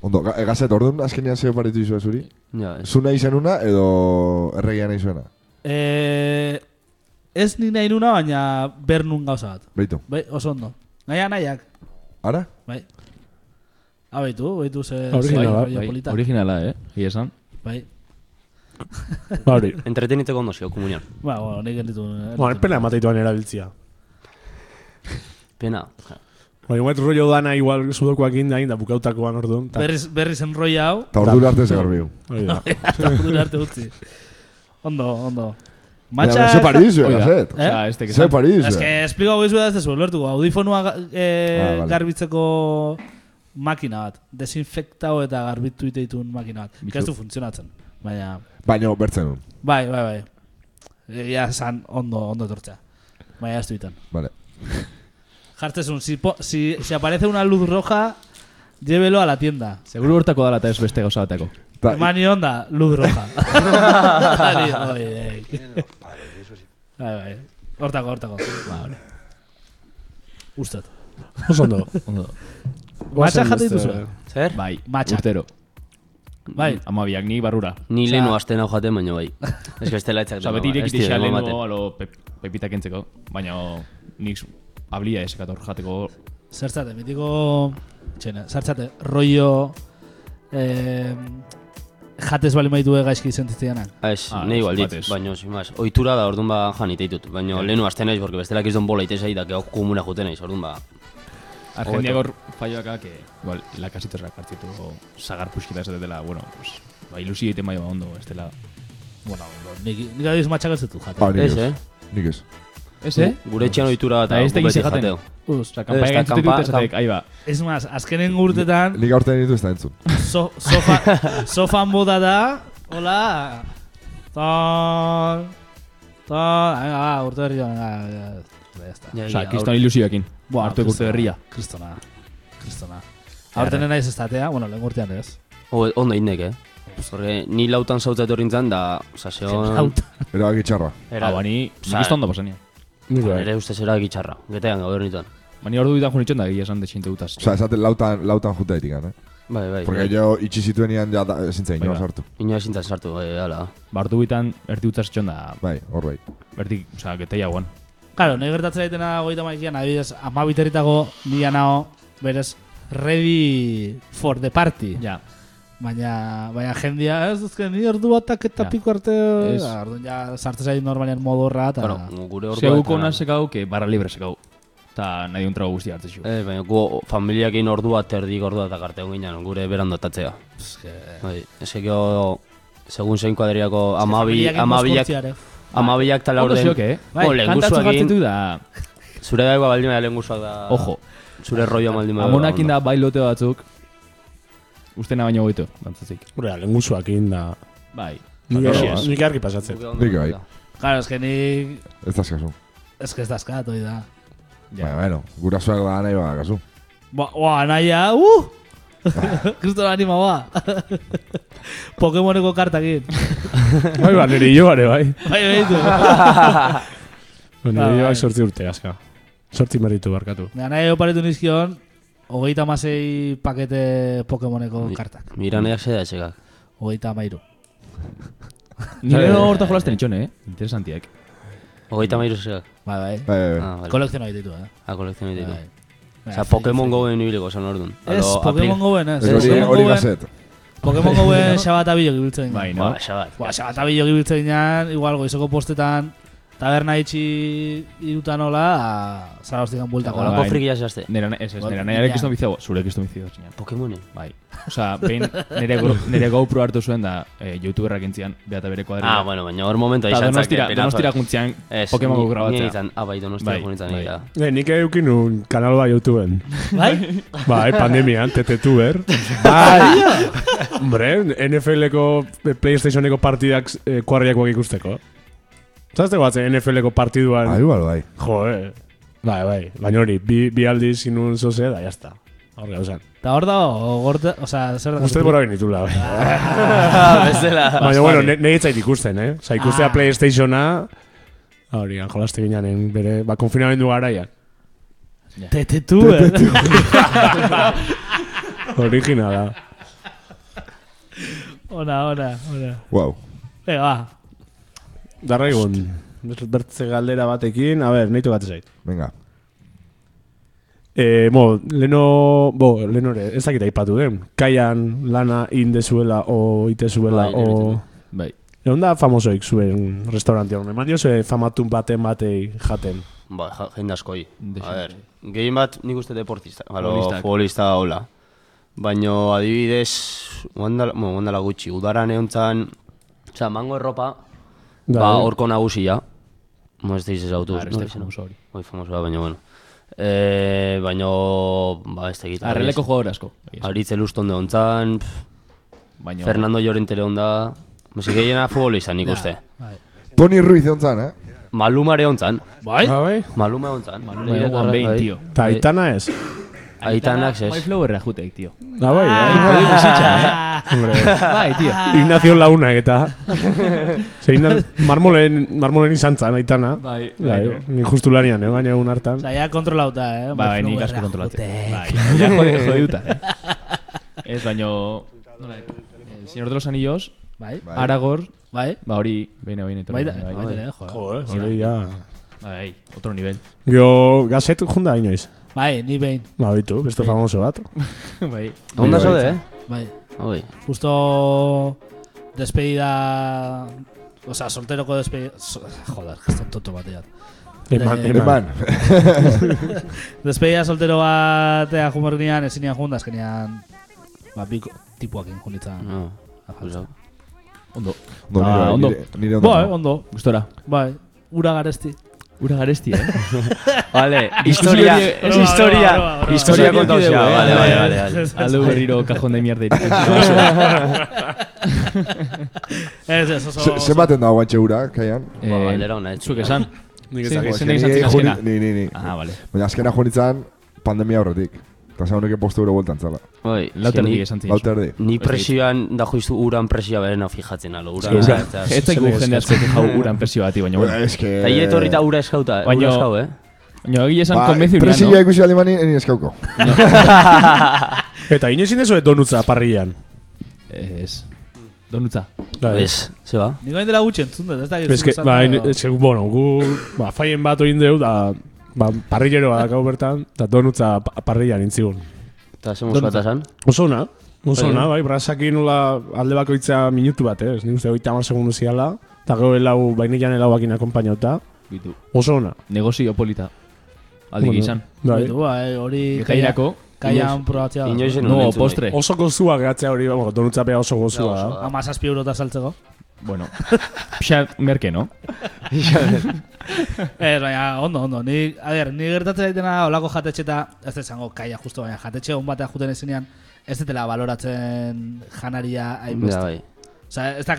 Ondo, ga- gazet, orduan azkenean zeo paritu izua zuri?
Ja, ez.
Zu nahi zenuna edo erregia nahi zuena?
Eh, ez nik nahi nuna, baina bernun gauza bat.
Beitu.
Bai, oso ondo. Naia nahiak,
Ara?
bai. Ah, baitu, baitu ze... ze
Originala,
rollo
Bai,
polita.
originala, eh? Ia esan.
Bai.
Ba, Hori.
Entreteniteko ondo zio, komunian.
Ba, bueno, nik gelditu. eh,
Bueno, pena emateituan erabiltzia.
Pena.
Baina, guet rollo dana igual sudokuak inda, inda bukautakoan orduan. ta-
Berriz, berriz enroia hau,
Ta ordu arte ze garbiu.
Hori da.
eta ordura arte utzi. Ondo, ondo.
Baina, zeo paritu izua,
Oiga.
gazet.
Eh?
Osea, este que
Zeo
esan.
paritu
Ez
izua.
que espligo goizu da ez dezu, lertuko. Audifonua ga- eh,
Ah, vale.
garbitzeko makina bat. Desinfektau eta garbitu iteitun makina bat.
Bitu.
Que ez du funtzionatzen. Baina,
Baina, bertzen nun.
bai, bai, bai. Egia san ondo, ondo etortzea. Baina ez du iten.
Vale.
Jartzezun, si, po- si, si aparece una luz roja, llévelo a la tienda.
Seguru hortako dala eta ez beste gauza bateko.
Ta,
Mani onda, luz roja. Dali, oi, ei. Bai, bai. Hortako, hortako. Ba, hori. Uztat.
Oso ondo.
Ondo.
Matxa jate dituzu.
Zer?
Bai,
Matxak.
urtero.
Bai,
Amabiak ni barrura.
Ni
Osea-
lehenu azten hau jaten, baina bai. Ez que ez dela etzak.
Osa, Ba, beti irekite xa lehenko alo pep, pepita kentzeko. Baina nik ablia ez ekat hor jateko.
Zertzate, mitiko... Txena, zertzate, rollo... Eh, jatez bali maitu gaizki sentitzeanak.
Ez,
Ah,
ne igual dit,
batez.
baina sin más. Oitura da, orduan ba jan iteitut. Baina lehenu azten naiz, porque bestelak izan bola itez ahi da, que hau komuna juten naiz, orduan ba.
Argendiak hor faioaka, que igual, lakasitos partitu sagar puskita ez dela, bueno, pues, ba, ilusio egiten bai ba ondo, ez dela.
Bueno, no, nik, nik adiz matxak ez dut jate.
ba, nik
Ez,
ez.
eh?
Nik ez.
Ez, eh?
Gure etxean oitura
Da,
eta
ez da
beti
gizi jaten.
jateo.
Uz,
Osa, kanpaia
Ez da,
gaintzutik
kanpa-
dut esatek, ahi ba.
ez maz, azkenen urtetan,
Nik aurten ditu ez da entzun.
so, sofa, sofan boda da, hola... Ton... Ton... Venga, ba, urte berri joan, venga, ya, ya está.
Ja,
Osa,
ja,
kriston ilusioekin.
Buah,
Hartu ekurte
kristona,
berria.
Kristona, kristona. Aurten naiz ez datea, bueno, lehen urtean ez.
O- Ondo indek, eh? Porque ni lautan zautza etorri nintzen, da, oza, zeon...
Auta.
Erabaki txarra.
Ah, ba, bai. ni
Osa,
kriston ondo pasania.
Nire ustez era gitxarra, getean gau ernitan.
Ba, ni hor duitan junitzen da, egia esan desinte dutaz.
Osa, esaten lautan, lautan junta itikan, eh?
Bai, bai.
Porque jo itxi zituen ian ja da- ezin zein,
Bai,
joan
ba.
sartu.
Ino ezin zan sartu, bai, ala.
Ba, hor duitan erdi dutaz da,
Bai, hor bai.
erdi, osa, geteia guan.
Claro, nahi gertatzen daitena goita maikian, adibidez, amabiterritako nila nao, berez, ready for the party.
Ja,
Baina, baina jendia, ez duzken, ni ordu batak eta
Ja.
piko arte,
Ez.
ja, orduan ja, sartzen zain normalian modorra, eta...
Bueno, gure ordua...
Seguko
eta-
ona sekau, que barra libre sekau. Ta nahi un trago guzti hartzexu.
Eh, baina gu familiakin ordua terdik ordua eta karteun ginen, gure berando tatzea. Bai, ez eko, segun zein kuadriako amabi,
Familiakin
amabiak,
mozkortziare.
amabiak tala
Ondo
orden.
zioke, eh?
Bai,
Bai, kantatzu
lengusuakin,
jartzetu da,
zure dagoa baldin bada lengusuak da...
ojo,
Zure rolloa baldin bada.
amonakin da bai lote batzuk, Ustena baino goito, dantzatik.
Hora, lenguzuak egin da.
Bai.
Nik
Bai.
argi- Nik argi pasatzen.
Nik bai.
Claro, es que nik...
Ez da eskazu.
Es que ez da eskat, hori da.
Ja.
Baina, bueno, gurasoak da nahi bada kasu.
Ba, oa, naia, uh! Kristo anima, ba. Pokemoneko kartakin.
Bai, ba, nire joare, bai.
Bai, behitu.
Ba,
Ah,
Nire
bai.
joak sortzi urte, azka. Sortzi meritu, barkatu.
Da, nahi oparetu nizkion, hogeita masei pakete Pokemoneko kartak.
Mira nahiak zeda txekak.
Hogeita mairu.
Nire no horta jolasten itxone, eh? Interesantiak.
Hogeita mairu zedak.
Bai, bai.
Eh,
Ah, vale.
Kolekziono ditu, eh.
Ah, kolekzioan ditu.
Bai. Bai,
Osa,
friki,
Pokemon
friki.
Goen ibiliko zan orduan.
Ez,
Alo,
Pokemon
apli-
Goen, ez.
ez hori,
Pokemon
hori
Goen-
gazet.
Pokemon Goen xabata bilok ibiltzen
Bai,
ginen.
no?
Ba, esa bat.
Ba, xabata bilok ibiltzen ginen, igual goizeko postetan, taberna itxi irutan hola, a- zara hostikan bueltako.
Hola,
Olako
Bai.
frikia zehazte.
Nire, ez, ez,
Bai,
nire nahiare
ja.
kiston biziago, zure kiston biziago zinean.
Pokemonen.
Bai. Osa, behin nire, go, nire GoPro hartu zuen da eh, youtuberrak entzian, beha eta bere kuadrilla.
Ah, bueno, baina hor momentu
Eta
izan
donostira,
zaken,
donostira
penazo.
juntzian
Ez,
Pokemon
ni-
Go
ni
grabatzea.
izan- ah, bai, donostira
Bai,
junitan
bai.
egia.
Eh, nik edukin un kanal bat YouTubeen.
Bai?
Bai, pandemian, tetetuber. Bai! Hombre, NFL-eko, eh, PlayStationeko partidak eh, kuarriakoak ikusteko. Zazteko batzen NFL-eko partiduan,
Ahi, bai, bai.
jo, eh. Bai, bai, baina hori, bi, bi aldiz inun zoze da, jazta. Hor gauzan.
Ta hor dago, gorte, o sea, zer da.
Uste bora benitula, bai.
Ah, Bezala.
Baina, bueno, ne- nire itzait ikusten, eh? Osa, ikustea
Ah.
PlayStationa, hori, jolaste ginen, bere, ba, konfinamendu garaian.
Tetetu, eh?
Originala.
Ona, ona, ona.
Wow.
Venga, ba.
Darraigun, bertze galdera batekin, a ber, nahitu bat zait.
Venga.
E, mo, leno, bo, leno ere, ez dakit aipatu den. Kaian lana indezuela o itezuela
Bai,
o...
evidentemente. Bai.
Egon da famosoik zuen restaurantia honen. Eman jose famatun baten batei jaten.
Ba, ja- jende askoi. A
Definitivamente.
ber, gehien bat nik uste deportista. Alo,
Futbolistak.
futbolista hola. Baino, adibidez, guandala, bueno, guandala gutxi, udaran egon zan, oza, mango erropa,
Da,
ba,
eh.
horko nagusia. Mo ez deiz ezautu.
Ah, beste famoso hori.
Hoi famosoa, ah, baina, bueno. Eh, baino, ba, ez tegit.
Arreleko jugador asko. Bai,
Aritze lustonde ontzan, pff,
Baina,
Fernando Llorentele onda, Mesi gehiena futbolista nik uste.
Toni Ruiz ontzan, eh?
Malumare ontzan.
Bai?
Ah, bai?
Maluma ontzan.
Nire guan behin, tío.
bai.
Ta aitana ez.
Aitanak
Bai
zez.
flowerra juteik, tío.
Da, bai, eh?
Bai, tío.
Ignacio Launa eta... Ze Igna- marmolen, marmolen izan zan, aitana.
Bai,
Bai,
bai.
ni justu lanian, eh, baina egun hartan.
Osa, ja kontrolauta, eh?
Bai, nik asko kontrolatzen. Bai, ja jode, jode duta. Eh? Ez, baino... Nola, eh, Señor de los Anillos,
Bai?
Bai.
Aragorn,
Bai?
ba hori, behin behin etorri.
Bai, da- bai, da, eh, jo.
Jo, eh, hori ja...
Bai, otro nivel.
Gio, gazet junda inoiz.
Bai, ni behin.
Ba, bitu, beste famoso bat.
bai.
Onda zaude, eh?
Bai.
Hoi.
Justo despedida... O sea, solteroko despedida... so- Joder, que está tonto batean.
Eman,
Eh,
eman.
Eman.
Despedida soltero batea jumor nian, ezin nian jundas, genian... Ba, biko tipuakin junitzen.
No.
Ah,
Gustau.
Ondo. eh,
Ondo,
Ah,
nire,
ondo.
nire, nire ondo.
Bai, ondo.
Gustora.
Bai, ura garesti.
Ura garesti, eh? vale,
historia-
Es
Broma,
historia.
broma, broma,
Historia
broma.
kontauzia,
Bideo, eh?
vale, vale, vale,
Ez,
vale.
ez,
Aldo berriro kajon de mierda.
Ez, ez, oso...
Ze-
oso-
Zenbaten da guantxe hura, kaian?
Ba, galdera ona, ez.
Zuek bai. esan. Nik
Jo,
ezak.
eske
Zein
ni
egin
juni-
azkena.
Ni, ni, ni.
Ah, vale.
Baina azkena joan itzan pandemia horretik. Eta zan honek postu euro bueltan zala.
Hoi.
Lauter dik esan zin.
Baute erdi.
Ni presioan, da justu uran presioa berena fijatzen, alo, uran.
Ez
Ura.
ez zaigu jende asko jau uran presio bati, baina bueno.
Ez que...
Eta hiet horri ura eskauta,
Baino-
ura eskau, eh?
Baina egia esan
Ba,
konbenzi
presioa
urian,
ikusi alemani, eni eskauko.
Eta inoiz indezu et donutza parrillan.
no? Ez. Donutza.
Da, ez.
Ez, ze ba?
Niko hain dela gutxen, zundet, ez da
Ez que, ba, in- ez que, bueno, gu, ba, faien bat oin deu, da, ba, parrillero badakau bertan, da donutza pa- parrillan intzigun.
Eta ze mozua eta zan?
Oso ona, oso ona, bai, brasakin nola alde bakoitza minutu bat, eh? Ez nik uste goita mar segundu ziala, eta gero bai, helau, bainilean helauakin akompainauta,
Bitu.
oso ona.
Negozio polita. Aldik izan.
Bai.
Bai, hori...
Getairako.
Kaian probatzea. da.
Inoiz zen
No, postre.
Oh.
Oso gozua gehatzea hori, vamos, donutza pega oso gozua. eh.
Ja, oso
da.
da.
Ama zazpi eurota saltzeko.
Bueno. Pixat merke, no?
Ez, Eh, baina, ondo, ondo. Ni, a ber, ni gertatzen daitena olako jatetxe eta, ez da esango, kaia, justo, baina jatetxe hon batea juten ezenean, ez dutela baloratzen janaria
Ja,
hainbeste.
bai.
Osea, ez da,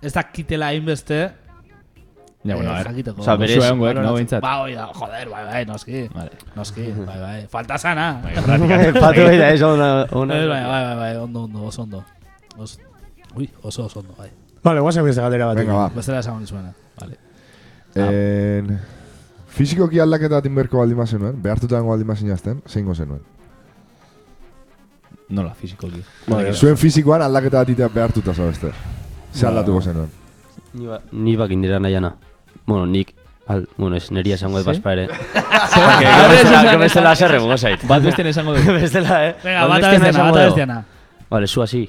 ez da kitela hainbeste
Ja, bueno,
eh,
a ver.
jakiteko.
Osa, berez,
Goxoa
egongoek, no,
baloratzen.
behintzat.
Ba, hoi da, joder, bai, bai, noski.
Vale.
Noski, bai, bai. Falta sana. Bai,
Patu bai da, eso una...
bai,
una...
bai, bai, bai, ondo, ondo, oso ondo. Oso, ui, oso, oso ondo, bai.
Vale, guazen beste galdera bat.
Venga, ba.
Bestela esan hori zuena. Vale.
Ah.
En... Fizikoki aldaketa bat inberko baldin bazenuen, behartuta dengo baldin bazen jazten, zein gozenuen.
Nola, fizikoki.
Ba,
Zuen fizikoan aldaketa bat itea behartuta zabezte.
Ba.
Ze aldatuko zenuen.
Ni, ba, ni bakin dira nahiana. Bueno, nik... Al, bueno, es neria esango de
Sí? ba,
paspa ere. Porque bestela- que bestela aserre bugo zait.
Bat bestean esango dugu.
Bestela, eh?
Venga,
Bat
bata
bestean
bestiana,
esango
bata
dugu.
bestiana.
Vale, zu hasi.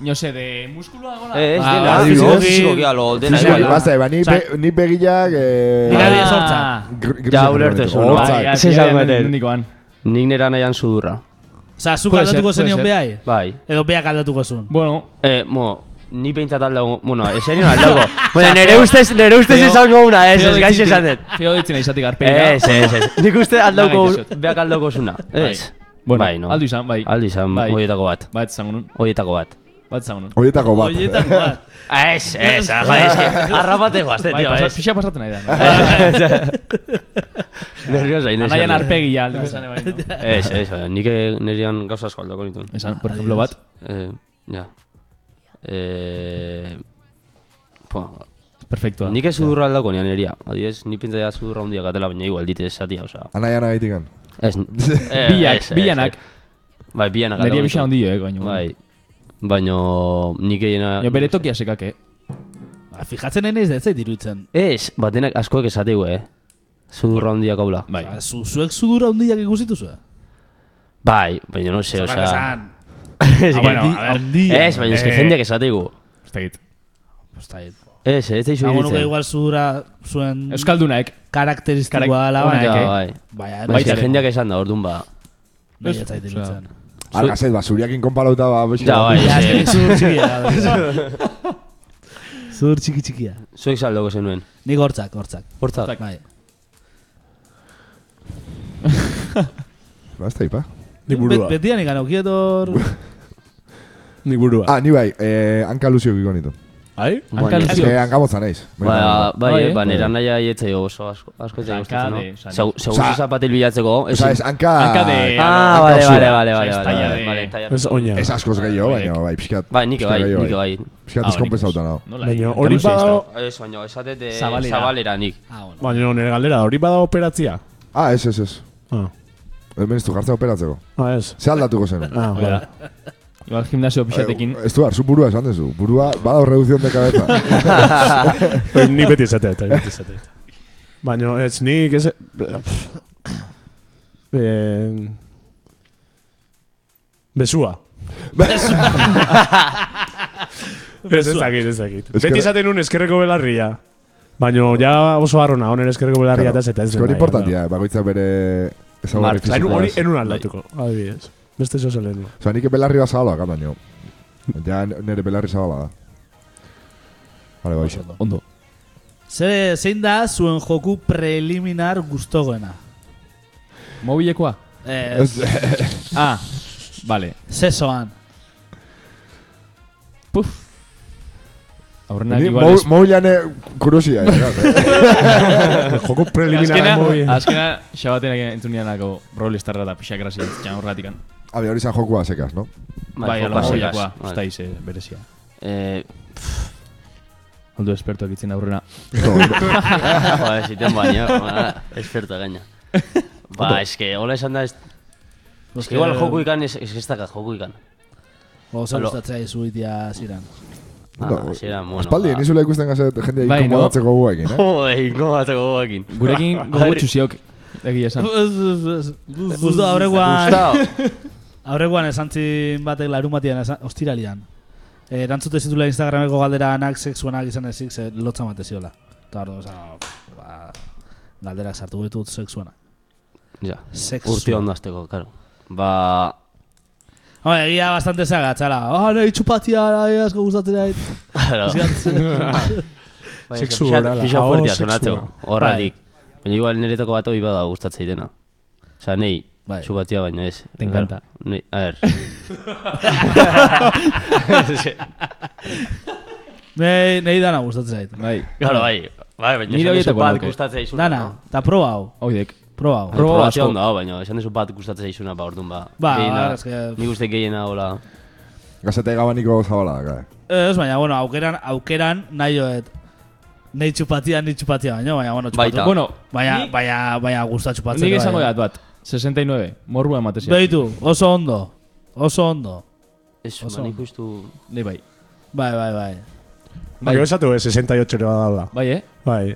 No se, de muskulua gola.
Eh, ez
Ba,
dena.
ba,
Fizikoki,
fizikoki-
fizikoki, alo, dena.
Fizikoki,
igual.
ba.
Basta, eba, ni,
Osea-
be, ni begiak... Eh,
Mira,
gri-
Ah.
sortza.
grisak
Ja, ulertu
jarriko.
zuen, bai,
Hortzak.
ja.
Ez
Ez esango eten.
Nikoan.
Nik nera nahian sudurra.
Osa, zuk
Puede ser,
aldatuko
puede
zenion
ser.
behai?
Bai.
Edo beak aldatuko zuen.
Bueno,
Eh, mo, ni peintzat aldago, bueno, esenion aldago. Bueno, nere ustez, nere ustez
Feo-
izango una, eh, ez, ez, gaixo
ditzen-
esan dut.
Feo ditzen izatik arpeina.
Ez, ez, ez. Nik uste aldauko,
Nagaitezot.
beak aldauko zuna. Ez.
Bueno,
bai, no.
aldu izan, bai.
Aldu izan,
Bai.
hoietako bat.
Bat zango nun.
Hoietako bat.
Bat zango nun.
Horietako bat.
Oietako bat.
Ez, ez, joder, es que arrapate guazte,
Bai,
tío,
pasa-
ez.
pixa pasatzen nahi da. no?
Nerviosa, Inés.
Anaian arpegia aldu izan, bai, no?
Ez, ez, joder, nik nerean gauza asko aldako nituen.
Esan, por ejemplo, bat.
Eh, ja. Eh, po,
Perfektua.
Nik ez sudurra aldako nian eria. Adibidez, ni pinta da sudurra hundiak atela, baina igual dite esatia, osea.
Anaian agaitikan.
Ez. eh,
Biak,
ez, ez,
bilanak.
ez. Bai, bianak.
Neria
aldatu
bixa
nituen.
handio, eh, baino.
Bai. Baino nik gehiena...
Jo, bere tokia sekak, eh.
Ba, Fijatzen nahi naiz da ez zait iruditzen.
Ez, batenak askoek esategu, eh. Sudurra hundiak haula.
Bai.
Ba, Zu, zuek sudura hundiak ikusitu zuen.
Bai, baina no sé, osea...
Esan,
Ez,
ah, bueno, a ver, hundia.
ez, baina ez que
Eh,
jendeak esategu.
Estegit.
Postait.
Ez, ez eizu
Hago nuke
iritzen.
igual zudura
Mm.
zuen
Euskaldunaek.
karakteristikoa
Karak-
dela,
Ja,
eh.
baina.
bai.
Baina,
Baina ez
baina,
que jendeak esan da, orduan ba.
baina, ez zait iruditzen.
Algazet, ba, zuriakin konparauta, ba, bexi.
Ja, bai,
Ja, ez
ez.
zur txikia. da. Zur txiki txikia.
Zuek saldoko zenuen.
Nik hortzak, hortzak.
Hortzak.
Bai.
Basta, ipa.
Nik
Bet,
burua.
betian ikan okietor...
Nik burua.
Ah, ni bai, eh, hanka luzio giko nituen.
Ai?
Baina-
Ez que hanka motza naiz.
Bai,
Ba, bai,
eh?
ba, nera naia ietzei oso asko, asko ietzei
Zankade,
gustatzen, no?
zanik.
Segu- Segur
Osea-
zapatil bilatzeko,
Osa, ez
ezin...
hanka...
Hanka de-
Ah, vale,
hanka
vale,
usua.
vale, vale,
Osea,
vale,
estalla
vale,
de-
vale, estalla.
Ez oina.
Ez askoz gehiago, baina, bai, pixkat.
Bai, nik
pixkat
bai,
gehiago,
nik bai.
Ah,
Oh, eh,
Pixkat deskonpensauta nago.
Baina hori ba- badago...
Ez, baina, esatet de
Zabalera.
zabalera nik.
Ah, bueno.
Baina nire galdera, hori badago operatzia.
Ah, ez, ez, ez.
Ah,
Hemen ez du jartzen operatzeko.
ah ez.
Ze aldatuko zen.
Ah, bale.
Igual gimnasio pixatekin.
Ez du, arzu burua esan dezu. Burua, bada reduzion de cabeza.
Ni Bai, beti izatea, eta beti izatea. Baina ez nik ez... Pff. Eh, Besua. Ez ez dakit, ez dakit.
Ezker-
Beti izaten un eskerreko belarria. Baina ja oso harrona, honen eskerreko belarria eta zeta ez
Eskori importantia, bakoitza bere... Ezagurri
Martxa.
Zainu
fizikoa.
hori enun aldatuko, adibidez. Beste zozo lehenu.
Osa, nik belarri bat zabala gata nio. Ja, nire belarri zabala da. Vale, bai.
Ondo.
Zer, zein da zuen joku preliminar gustogoena?
Mobilekoa?
Eh,
Ez,
Ah, vale.
zesoan.
Puf. Aurrenak
ni
igual...
mou- eh,
es-
moulane kurosia.
Joko preliminar
Azkena,
mobi.
azkena, xabatenak entzun nianako Brawl Starra da pixak grazi entzitxan horratikan.
Habe, hori zan jokoa sekaz, no?
Bai, ala
jokoa sekaz.
mobilekoa.
Bai.
Estáis, eh, berezia.
Eh,
Aldo espertoak itzen aurrena.
joder, ziten baina, ba, esperta gaina. Ba, eske, hola esan da, ez- eske igual joku ikan, ez ez daka joku ikan.
Oso
Alo.
gustatzea izu itia ziren.
Ah, zera, bueno.
Aspaldi,
ba.
nizula ikusten gazet jendea
Bai, no?
inkomodatzeko guaekin, eh?
Jo, ingo bateko guakin.
Gurekin
Bai.
gogutxu ziok, egia esan.
Justo aurrekoan, aurrekoan esan zin batek larun batian, esan- ostiralian. Eh, erantzute zitula Instagrameko galdera anak sexuanak izan ezik, ze lotza mate ziola. Eta hor, oza, ba, galderak sartu ditut sexuana.
Ja,
Sexua.
urte ondo azteko, karo. Ba,
Hombre, egia bastante zagatzala. Ah, oh, nahi txupatia, nahi asko gustatzen zait.
Claro. Baina,
Sexu
pixat-
orala,
pixat
aho sexua.
fuertea Bai. sonatzeko, horratik. Baina igual niretako bat hori bada gustatzen dena. Osa, nei,
Bai.
Txubatia baino ez.
Te encanta.
Ni- a ver. Bai.
Nei, nei dana gustatzen zait.
Bai.
Claro, bai. Bai, baina
Nire
esan duzu
horietako
bat
nuke.
gustatzen zaizuna.
Dana,
no?
eta proba hau.
Oidek.
Proba hau.
Proba
Probatzea
asko.
ondo dago, baina esan duzu bat gustatzen zaizuna, ba, orduan, ba.
Ba,
gehiena-
es que-
Nik uste gehiena, hola.
Gazeta egabaniko zabala daka. eh.
Ez, baina, bueno, aukeran, aukeran nahi joet. Nei txupatia, nei txupatia, baina, baina, bueno,
Bai.
Baita.
txupatu.
Bueno,
Baina,
nik-
baina, baina, gusta txupatzen. bai.
Nik esango dat bat. 69. Morrua ematezia.
Beitu, oso ondo. Oso ondo.
Ez,
Oso
ba, nik
ondo.
ustu...
Ni bai.
Bai, bai, bai.
Bai.
Baina esatu eh, ez, 68 ere badala.
Bai, eh?
Bai.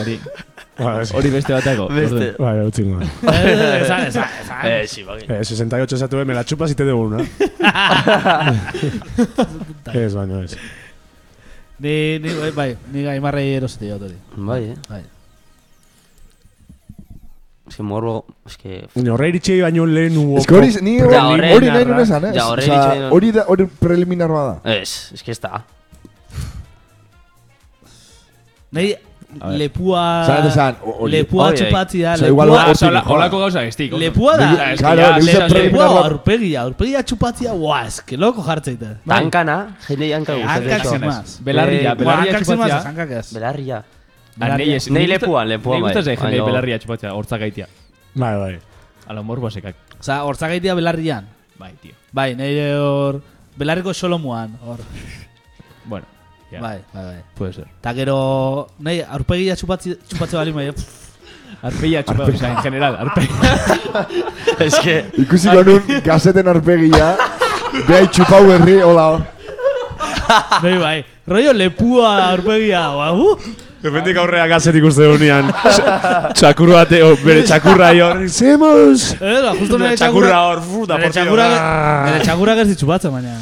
Hori,
Bai.
Ba, ez-
hori beste batako.
Beste.
Bai, utzi nuen.
Eh, Esan, esan, esan.
Eh, sí, ba,
Eh, 68 esatu eh, me la chupas y te debo una. ez, baino ez.
Ni, ni, bai, bai, ni gaimarrei erosete jotori.
Bai, eh.
Bai.
Ez que morbo... Ez que...
Ni Horre iritsi baino lehen hubo...
Ez que hori, ni hori
Ja, horre
hori nahi
narra.
nuen esan, eh?
Ja, horre
Osea,
iritsi nahi nuen.
Hori da, hori preliminar bada.
Ez, ez que ez da.
Nei, lepua...
Zan, esan, hori.
Lepua
Hori,
txupatia,
Osa, igual
lepua...
hor-
Osa,
hortik,
holako gauza estik.
Lepua da...
Niri- Claro, niri
Lepua,
zen preliminar
Lepua,
bat.
aurpegia, aurpegia txupatia, ua, eske loko jartzeite.
Ta hankana, jendei hanka gustatzen
Hankak
zaizu.
zen más.
Belarria,
Eh,
belarria
Hankak zen más,
txupatzea.
hankak ez.
Belarria.
Ah, nei ez-
Nei
nei gusta-
lepuan, lepuan
nei
bai.
gustatzen jendei
Baina-
belarria txupatzea, hortzagaitia.
Bai, bai.
Ala morrua sekak.
Osa, hortzagaitia belarrian.
Bai, tio.
Bai, nire hor... Belarriko solomuan, hor.
Bueno, ya.
Bai, bai, bai.
Puede ser.
Ta gero... Nei, aurpegia txupatzi, txupatze bali mai...
Arpeia txupatzea, o sea, en general. Arpeia.
Ez que...
Ikusi genuen gazeten arpegia, behai txupau berri, hola.
Nei, bai. Rollo lepua aurpegia, ba, uh!
Defendik aurrea gazet ikuste unian. Txakurra bate, o, bere txakurra hor. Zemuz!
Eh, ba, justo nire
Txakurra hor, fu, da
Nire
portio.
txakurra... Nire txakurra gertzi txupatzen, baina...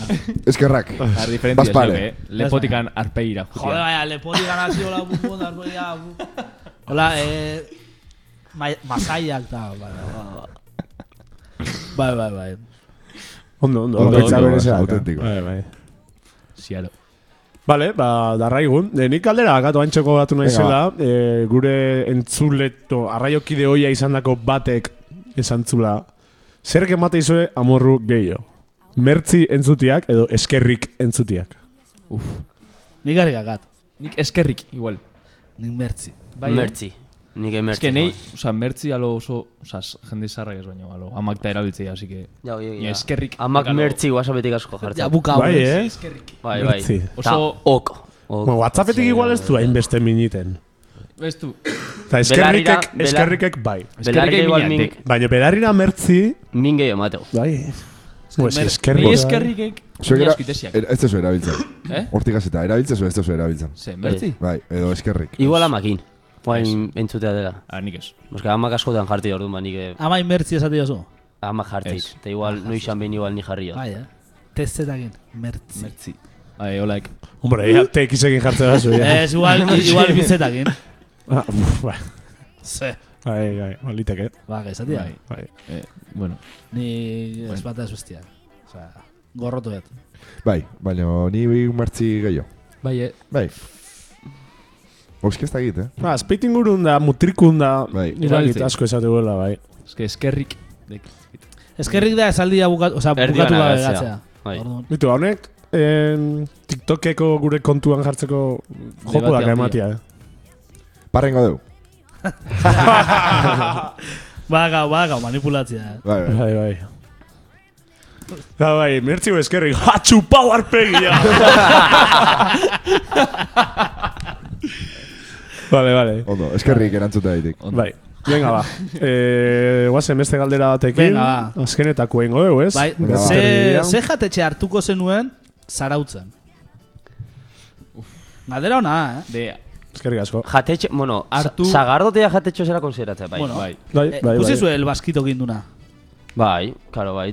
Eskerrak.
A diferencia es lo
Bazpare.
que, eh, lepotikan arpeira.
Jode,
jutia.
baina, lepoti ganazio, hola, bumbun, aurpegia... bu. Hola, eh... ma- Masaiak, ta... Bai, bai, bai. bai, bai.
Ondo, ondo.
Ondo,
bakoitza
ondo,
bere zerak.
autentiko.
Bai, bai.
Sialo.
Vale, ba, darraigun. E, nik aldera gatu antxoko batu nahi zela, e, gure entzuleto, arraiokide hoia izandako batek esan zula. Zer gemate izue amorru gehiago? Mertzi entzutiak edo eskerrik entzutiak.
Nik garrik akat.
Nik eskerrik, igual.
Nik mertzi.
Bai, eh?
Mertzi. Nik emertzi.
Es que nei, o sea, mertzi alo oso, o sea, jende zarra ez baino, alo, amak da erabiltzea, así que...
Ja, oi, oi,
Ni
ja.
eskerrik.
Amak
Nik alo-
mertzi guasabetik asko
Ja,
jartzen.
buka
bai,
horrez.
eh?
Bai, bai.
Mertzi.
Ta,
Oso-
ok. Ok.
Bueno, WhatsAppetik
Zer,
igual ez du hainbeste miniten.
Ez du.
Eta eskerrikek,
Belarrira- bela-
eskerrikek bai.
Belarria
Eskerrik
igual
egin
min,
atek.
Baina belarrira mertzi,
min gehiago emateu.
bai. Pues
mer- Bai,
Nei
eskerrik.
eskerrikek, ni
Zuek
asko itesiak.
era, ez tezu erabiltzen.
Eh?
Hortik gazeta, erabiltzen zu, ez tezu erabiltzen.
Ze, mertzi?
Bai, edo eskerrik.
Igual amakin. Guain entzutea dela.
Ah, nik ez.
Euskal amak askotan jarti orduan, ba, nik eh,
Ama inmertzi esate jozu.
amak jarti.
Ez.
Eta igual, noixan behin igual ni jarri.
Bai, eh? Testetakin, mertzi.
Mertzi. Ai, olaik.
Hombre, ja, tekisekin jartzen da zu, ja.
Ez, igual, igual bizetakin.
Ah, uf, Bai,
Ze.
bai, bai, baliteke.
Ba, gezatia.
Bai. Eh, bueno.
Ni ez bata ez bestia. Osea, gorrotu dut.
Bai, baina ni mertzi gehiago.
Bai, eh,
Bai. Oski ez dakit, eh?
Ba, azpeitin gurun da, mutrikun da,
Bai.
irakit
Erabiltzen.
asko esate duela, bai.
es que eskerrik. dek.
Eskerrik da esaldia bukatu, osea,
Erdi
bukatu
bana
gabe
gatzea.
gatzea.
Bai.
Orduan,
Bitu, honek, en, TikTokeko gure kontuan jartzeko joko
Debate
da
handia.
ematia, eh?
Parrengo deu.
Ba, gau, ba, gau, manipulatzea. eh.
Bai, bai.
Bai, bai. Da, bai, mertzi eskerrik, ha, txupau arpegia! vale, vale.
Ondo, eskerrik erantzuta ditik.
Bai. Venga, ba. Eh, guazen beste galdera batekin.
Venga, ba.
Azkenetako ingo dugu, ez?
Bai,
Venga, ba.
ze,
Gazteria.
ze jatetxe hartuko zenuen, zarautzen. Galdera hona, eh?
De,
Eskerrik asko.
Jatetxe, bueno,
Hartu-
Artu... zagardotea jatetxo zera konsideratzea, bai.
Bueno.
bai.
Bai,
Eh,
bai,
Pusi
bai.
zuen el baskito ginduna.
Bai, karo, bai,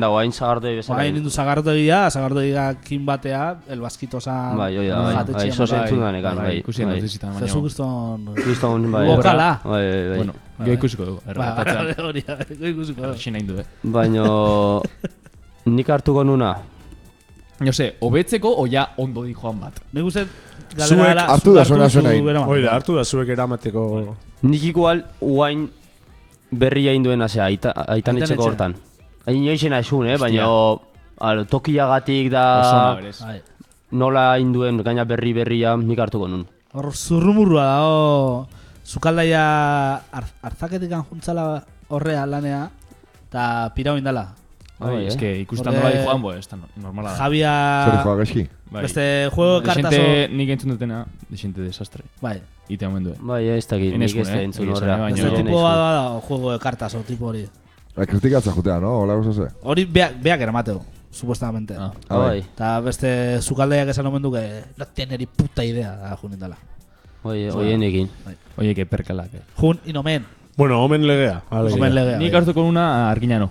bai.
da guain zagardoi bezala.
Orain indu zagardogia, zagardogiakin batea, el baskito zan...
Bai, oi da, bai,
jatetxean
bai, zoze
bat.
entzun danekan, bai.
Ikusien
bai.
dut izitan, baina...
Jesu Kriston...
Kriston, bai.
Bokala.
Bai, bai, bai.
Bueno, gero ikusiko dugu.
Ba,
Erratatzen.
hori, hori ikusiko da.
Erratzen hain du, eh.
Baino, nik hartuko nuna.
Jo se, hobetzeko oia ondo di joan bat.
Nik uste galera
Zuek
dela,
hartu
zu
da, zuena,
hartu, zu
zuena egin.
eraman.
Hoi da, hartu da zuek eramateko...
Nik igual, guain berria induen azea, aita, aitan
Aitan
etxeko
etxea.
hortan. Hain inoizen aizun, eh? baina al, tokiagatik da
Oso ona, berez.
Bai.
nola induen gaina berri berria nik hartuko nun.
Hor zurrumurrua dago Zukaldaia ar, Arzaketik juntzala horrea lanea Eta pirau indala
Bai,
Bai,
eh?
es que ikusten
Horre-
nola di joan, bo, ez da no- normala
Bai.
da.
Javia
Zer joa gaizki?
Bai.
Beste juego de
Dexente,
kartas o-
nik entzun dutena, desente desastre.
Bai
Ite omen duen.
Bai, ez dakit,
Enes
nik ez
un,
da
eh?
entzun
Egia esan,
horra.
eh, baina-
Beste
Ez da
tipo
entzun.
bat da juego de kartas o tipo hori
La Ba, kritikatza jutea, no? Hola gozoze.
Hori beak, beak eramateo Supuestamente
Ah.
Ah, bai.
Bai,
Eta beste Zukaldaiak esan omen duke No tiene ni puta idea da jun indala
bai, hoien egin.
Oie, que perkalak. Eh.
Jun inomen
Bueno, omen legea. alegia.
Omen legea
Nik
bai.
hartuko una arginano.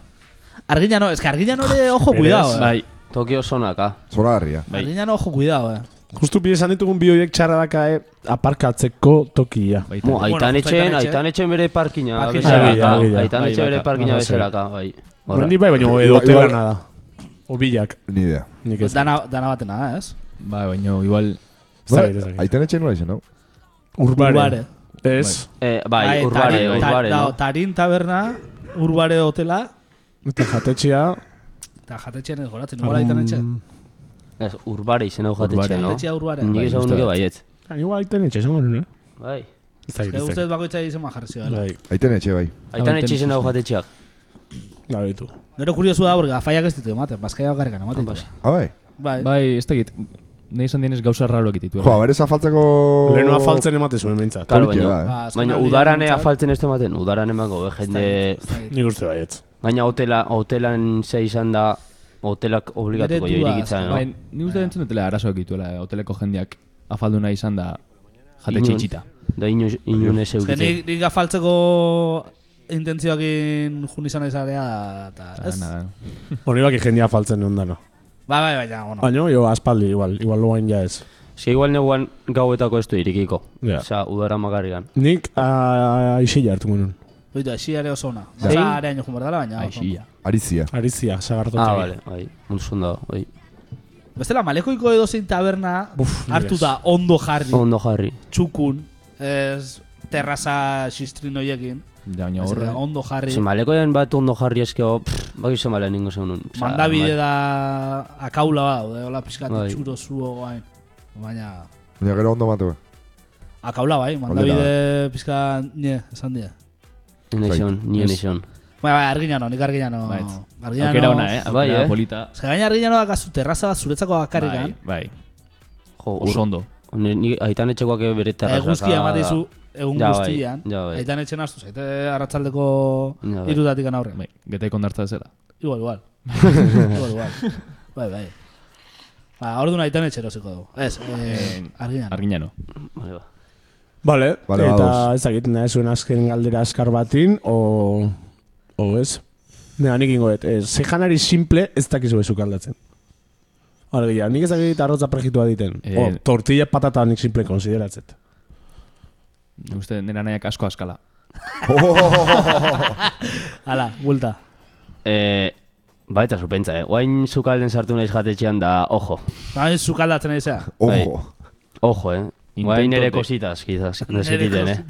Arguiñano, es que Arguiñano le ojo
Berez,
cuidado eh.
Bai,
Tokio ah. sonaka.
Zora harria.
bai.
Arguiñano ojo cuidado eh.
Justu bide esan ditugun bi horiek txarra dakae aparkatzeko tokia.
baita.
Mo, aitan
Bueno,
etxeen,
aitan etxe.
aitan etxeen bere parkina
Parkina.
bezalaka.
Argi da, argi da.
Aitan etxe
Bai,
bere
baka.
parkina
Arrazoi.
bezalaka, bai. Horra.
Ni bai, baina edo
Igual- igual-
telana da. O bilak.
Ni idea.
Nik ez.
Pues dana, dana batena, eh, ez?
Bai, baino, igual...
Ez dakit, ez dakit.
Bai, Aiten etxe nola izan, no?
Urbare.
Urbare.
Ez.
Eh, bai, urbare,
tarin, ta-
urbare,
da-
no?
Tarin taberna, urbare hotela,
Eta jatetxea.
eta jatetxean ez goratzen, igual aitan etxe.
Ez, urbare izen hau jatetxe,
Urbare.
no?
Jatetxea urbare.
Nik
Bai,
esan
uste
nuke
dut.
baietz.
Igual aiten etxe, esango nuen, eh?
Bai.
Ez dakit,
Eta
ez
uste
dakit.
dut bakoitza izan jarri zioela.
Bai,
Aiten etxe, bai.
Aitan etxe izen hau
Aiten
jatetxeak.
gabe ditu.
Gero kuriosu da, porque gafaiak ez ditu ematen, bazkaia bakarrikan ematen.
Ah, bai.
Bai.
Bai, ez dakit. Nahi izan dienez gauza rarroak ititu. eh.
Jo, berez afaltzako...
Lehenoa faltzen emate zuen behintzat.
Claro,
Turkia
baina,
da,
eh.
baina
Ba,
udarane
azkenaldian
afaltzen ez tematen, udaran emako, eh, jende...
Nik uste baietz.
Baina hotela, hotelan ze izan da, hotelak obligatuko jo
Diretua,
irikitzan,
Bai,
no?
ni uste entzun dutela arazoak dituela, eh, hoteleko jendeak afaldu nahi izan da jatetxe
Inon-
itxita.
Da ino, inun ez
Ez que
eukitzen.
nik, nik gafaltzeko intentzioakin jun izan ezarea, eta ez.
Nada, no.
Hori baki jendia faltzen non dana.
Bai, bai, baina, bueno.
Baina, jo, aspaldi, igual. Igual loain ja ez.
Ez que igual neguan gauetako ez du irikiko.
Ja.
Osa, udara makarrikan.
Nik a- aixilla hartu genuen.
Oitu, esiare oso ona.
Ja.
Baina, areaino jun berdala, baina. oso ona.
Aixilla.
Arizia.
Arizia, sagartotegi.
Ah, vale, bai, multzun da, bai.
Bestela, malekoiko edozein taberna
Buf,
hartuta ondo jarri,
Ondo jarri.
txukun, ez terraza xistrin
Ja, baina eh,
Horre,
horre.
ondo jarri.
Se malekoen bat ondo jarri oh, eskeo, baki se malen ningo zeunun. Osea,
Mandabide
ma-
da akaula ba, de hola pizkat
Bai.
itxuro zuo guain. Baina,
Baina gero ondo matu. eh.
akaula bai, mandabide pizka nie, esan dira.
Ni nizun, ni
Ez.
nizun.
Baina, bai, arginano, nik arginano.
Bai.
Arginano.
Aukera ona, eh?
Bai,
Aukera
eh.
polita.
Ze gaina arginano da kasu terraza bat zuretzako
Bai,
bakarrikan. eh,
bai.
Jo,
Oso
ur,
ondo.
ni, ni aitan etxekoak bere
Eh,
terrazaka.
Eguzkia ematizu egun
Ja, bai,
guztian.
ja, bai.
Aitan etxen astu zaite arratsaldeko
Ja, bai.
irutatik aurre.
Bai, getaik ondartza zela.
Igual, igual. igual, igual. Bai, bai. Ba, ordu nahi tan etxero ziko dugu. Ez, eh, arginan.
Arginano.
Vale, ba.
Vale,
Vale,
eta
ados.
ez dakit, nahi zuen azken galdera askar batin, o... o ez? Nena, nik ingoet, eh, ze janari simple ez dakizu bezuk aldatzen. Hora gila, nik ez dakit arrotza prejitua diten.
Eh,
o, tortilla patata nik simple konsideratzet.
Ni Uste nena nahiak asko askala.
Hala, buelta.
Eh, ba, eta zupentza, eh. Oain zukalden sartu naiz jatetxean da, ojo.
Nahi zukaldatzen ari zea.
Eh.
Ojo.
Ojo, eh. Oain
Intento
ere
de-
kositas, quizás, desekiten, eh.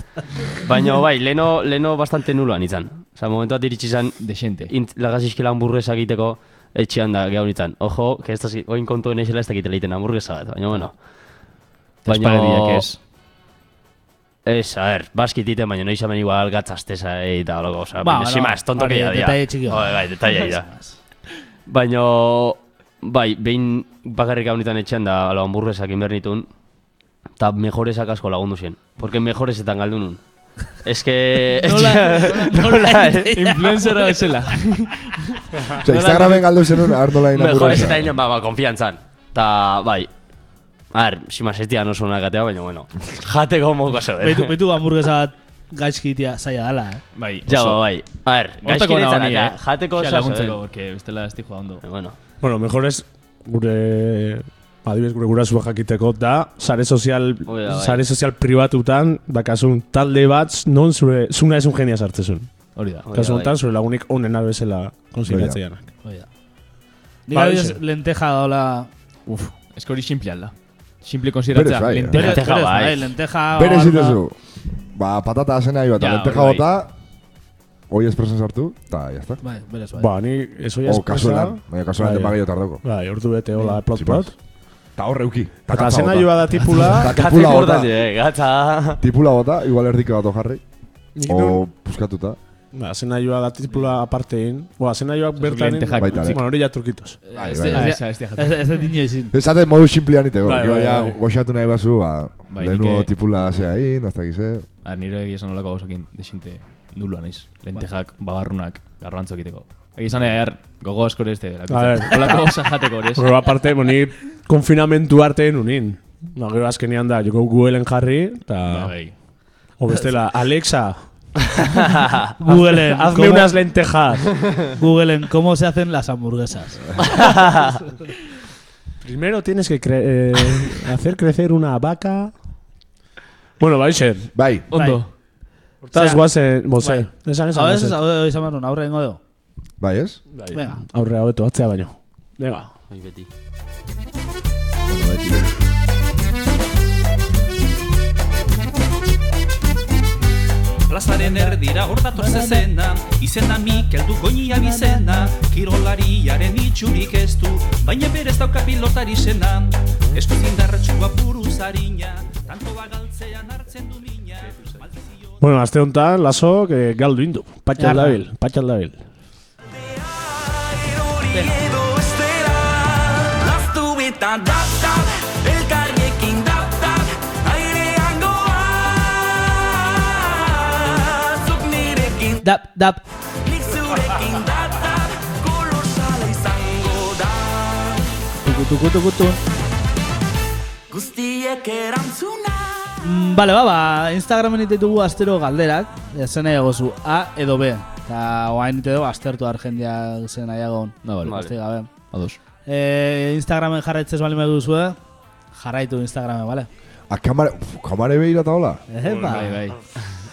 Baina, bai, leno, leno bastante nuloan izan. Osa, momentu bat iritsi izan,
Desente.
int, lagazizkila hamburguesa egiteko etxean da gaur nintzen. Ojo, que ez da, oin kontu naizela ez dakit leiten hamburguesa bat, baina, bueno.
Espagarriak ez.
Ez, a ber, baskititen, baina noiz hemen igual gatzastesa eh, eta holako,
Ba,
oza, ba,
bueno,
bueno, más, tonto
hori
que dia.
detaile txiki bat.
Bai, bai, detaile da. Baina, bai, behin bakarrik hau nitan etxean da, ala, hamburguesak inbernitun, eta mejoresak asko lagundu zen. Porque mejoresetan galdu nun. Ez que...
Nola, nola, eh?
Influencera bezala.
Osa, Instagramen galdu zenun, ardola
Mejores
inauguratzen.
eta inen, ba, ba, konfiantzan. Ta, bai. Ar, simaz ez dian oso onak atea, baina, bueno. Jateko eh. moko zebe.
Beitu, beitu hamburguesa bat gaizkitia zaila dala, eh?
Bai,
Ja,
oso.
ba, bai. Ar,
Hortako na
gaizkinetan
honi, eh?
atea, jateko
Xa
oso
laguntzeko,
zebe.
porque bestela ez di joa ondo.
Bueno,
Bueno, mejor ez gure... Adibidez, gure gurasua jakiteko da, sare sozial,
Hoi da, bai.
sare sozial pribatutan, dakasun talde bat, non zure, zuna esun genia sartzezun.
Hori da.
Hoi da,
Kasu
bai.
honetan, zure lagunik onena bezala konsideratzeanak.
Oida.
Ba,
Nik
Bai,
adibidez,
hoxe.
lenteja daola...
Uf, ez que hori simple alda. Simple
Berez
konsideratzea,
bai, eh.
lenteja.
Lenteja
berez,
bai.
lenteja...
Bere
gabarda.
zitezu. Ba, patata zen nahi bat,
Ja,
lenteja
hori bai.
bota, Hoy espresan sartu, eta jazta.
Bai, berez, bai.
Ba, ni eso ya
O kasuelan, baina kasuelan
Bai.
depa gehiago tardoko.
Bai, ordu bete, hola, plot
sin
plot.
Eta horre uki.
Eta zena joa da tipula,
Eta tipula bota.
eh, Gatza.
Tipula bota, igual erdika bat jarri.
nik nun-
O puskatuta.
Ba, zena joa da tipula apartein. Ba, zena joak bertan...
kliente jak-
Baita ere.
Bueno, hori ja trukitos.
Bai,
Ez
bai, bai.
ez-
Ah, ez- ez-
ez- ez dut inoiz in.
Esaten modu simplean iteko.
Bai,
Gero
bai,
ja
bai. e-
goxatu nahi bazu, ba,
Bai,
de
nik,
nuevo
eh,
tipula zea in, hasta gize.
Ba, nire egia esan olako gauzakin desinte nulua naiz. Lentejak, babarrunak, garrantzo egiteko. Egia esan egar gogo askore ez dela.
A ver.
Olako gauza jateko hori ez.
Pero aparte, bueno, ni konfinamentu arte nunin. No, gero azkenean da, joko Googleen jarri, eta...
Bai.
O bestela, Alexa, Eh,
Googleen,
hazme
cómo-
unas lentejas.
Googleen, ¿cómo se hacen las hamburguesas?
Primero tienes que cre- eh, hacer crecer una vaca. Bueno, bai, ser.
Bai,
Ondo.
Hortaz
Osea,
guazen, boze. Esan
A veces,
esan.
hau izan barun, aurre ingo dugu.
bai ez?
Venga.
Aurre hau beto, atzea baino. Venga.
Plazaren erdira hortatu zezena Izena Mikel du goinia bizena Kirolariaren itxurik ez du Baina berez dauka pilotari zena Eskuz indarratxua buruz harina Tantoa galtzean hartzen du mina Maldizio
Bueno, aste honetan, laso, que galdu indu. Patxal
Jarra.
dabil, patxal dabil.
hori edo estera Laztu eta daptap Elkarriekin daptap Airean goa Zuk nirekin
Dap, dap.
Nik zurekin daptap Kolosala izango da
Tuku, tuku, tuku, tuku.
Guztiek erantzuna
Mm, Bale, ba, ba, Instagramen ite dugu astero galderak, eh, zen nahiago zu, A edo B. Eta oain ite dugu astertu argendia zen nahiago hon.
No, bale.
Beste gabe.
Ados.
Eh, Instagramen jarraitzez bali medu zuen, jarraitu Instagramen, bale? Eh,
A kamare, uf, kamare behira eta hola.
Epa.
Bai, bai.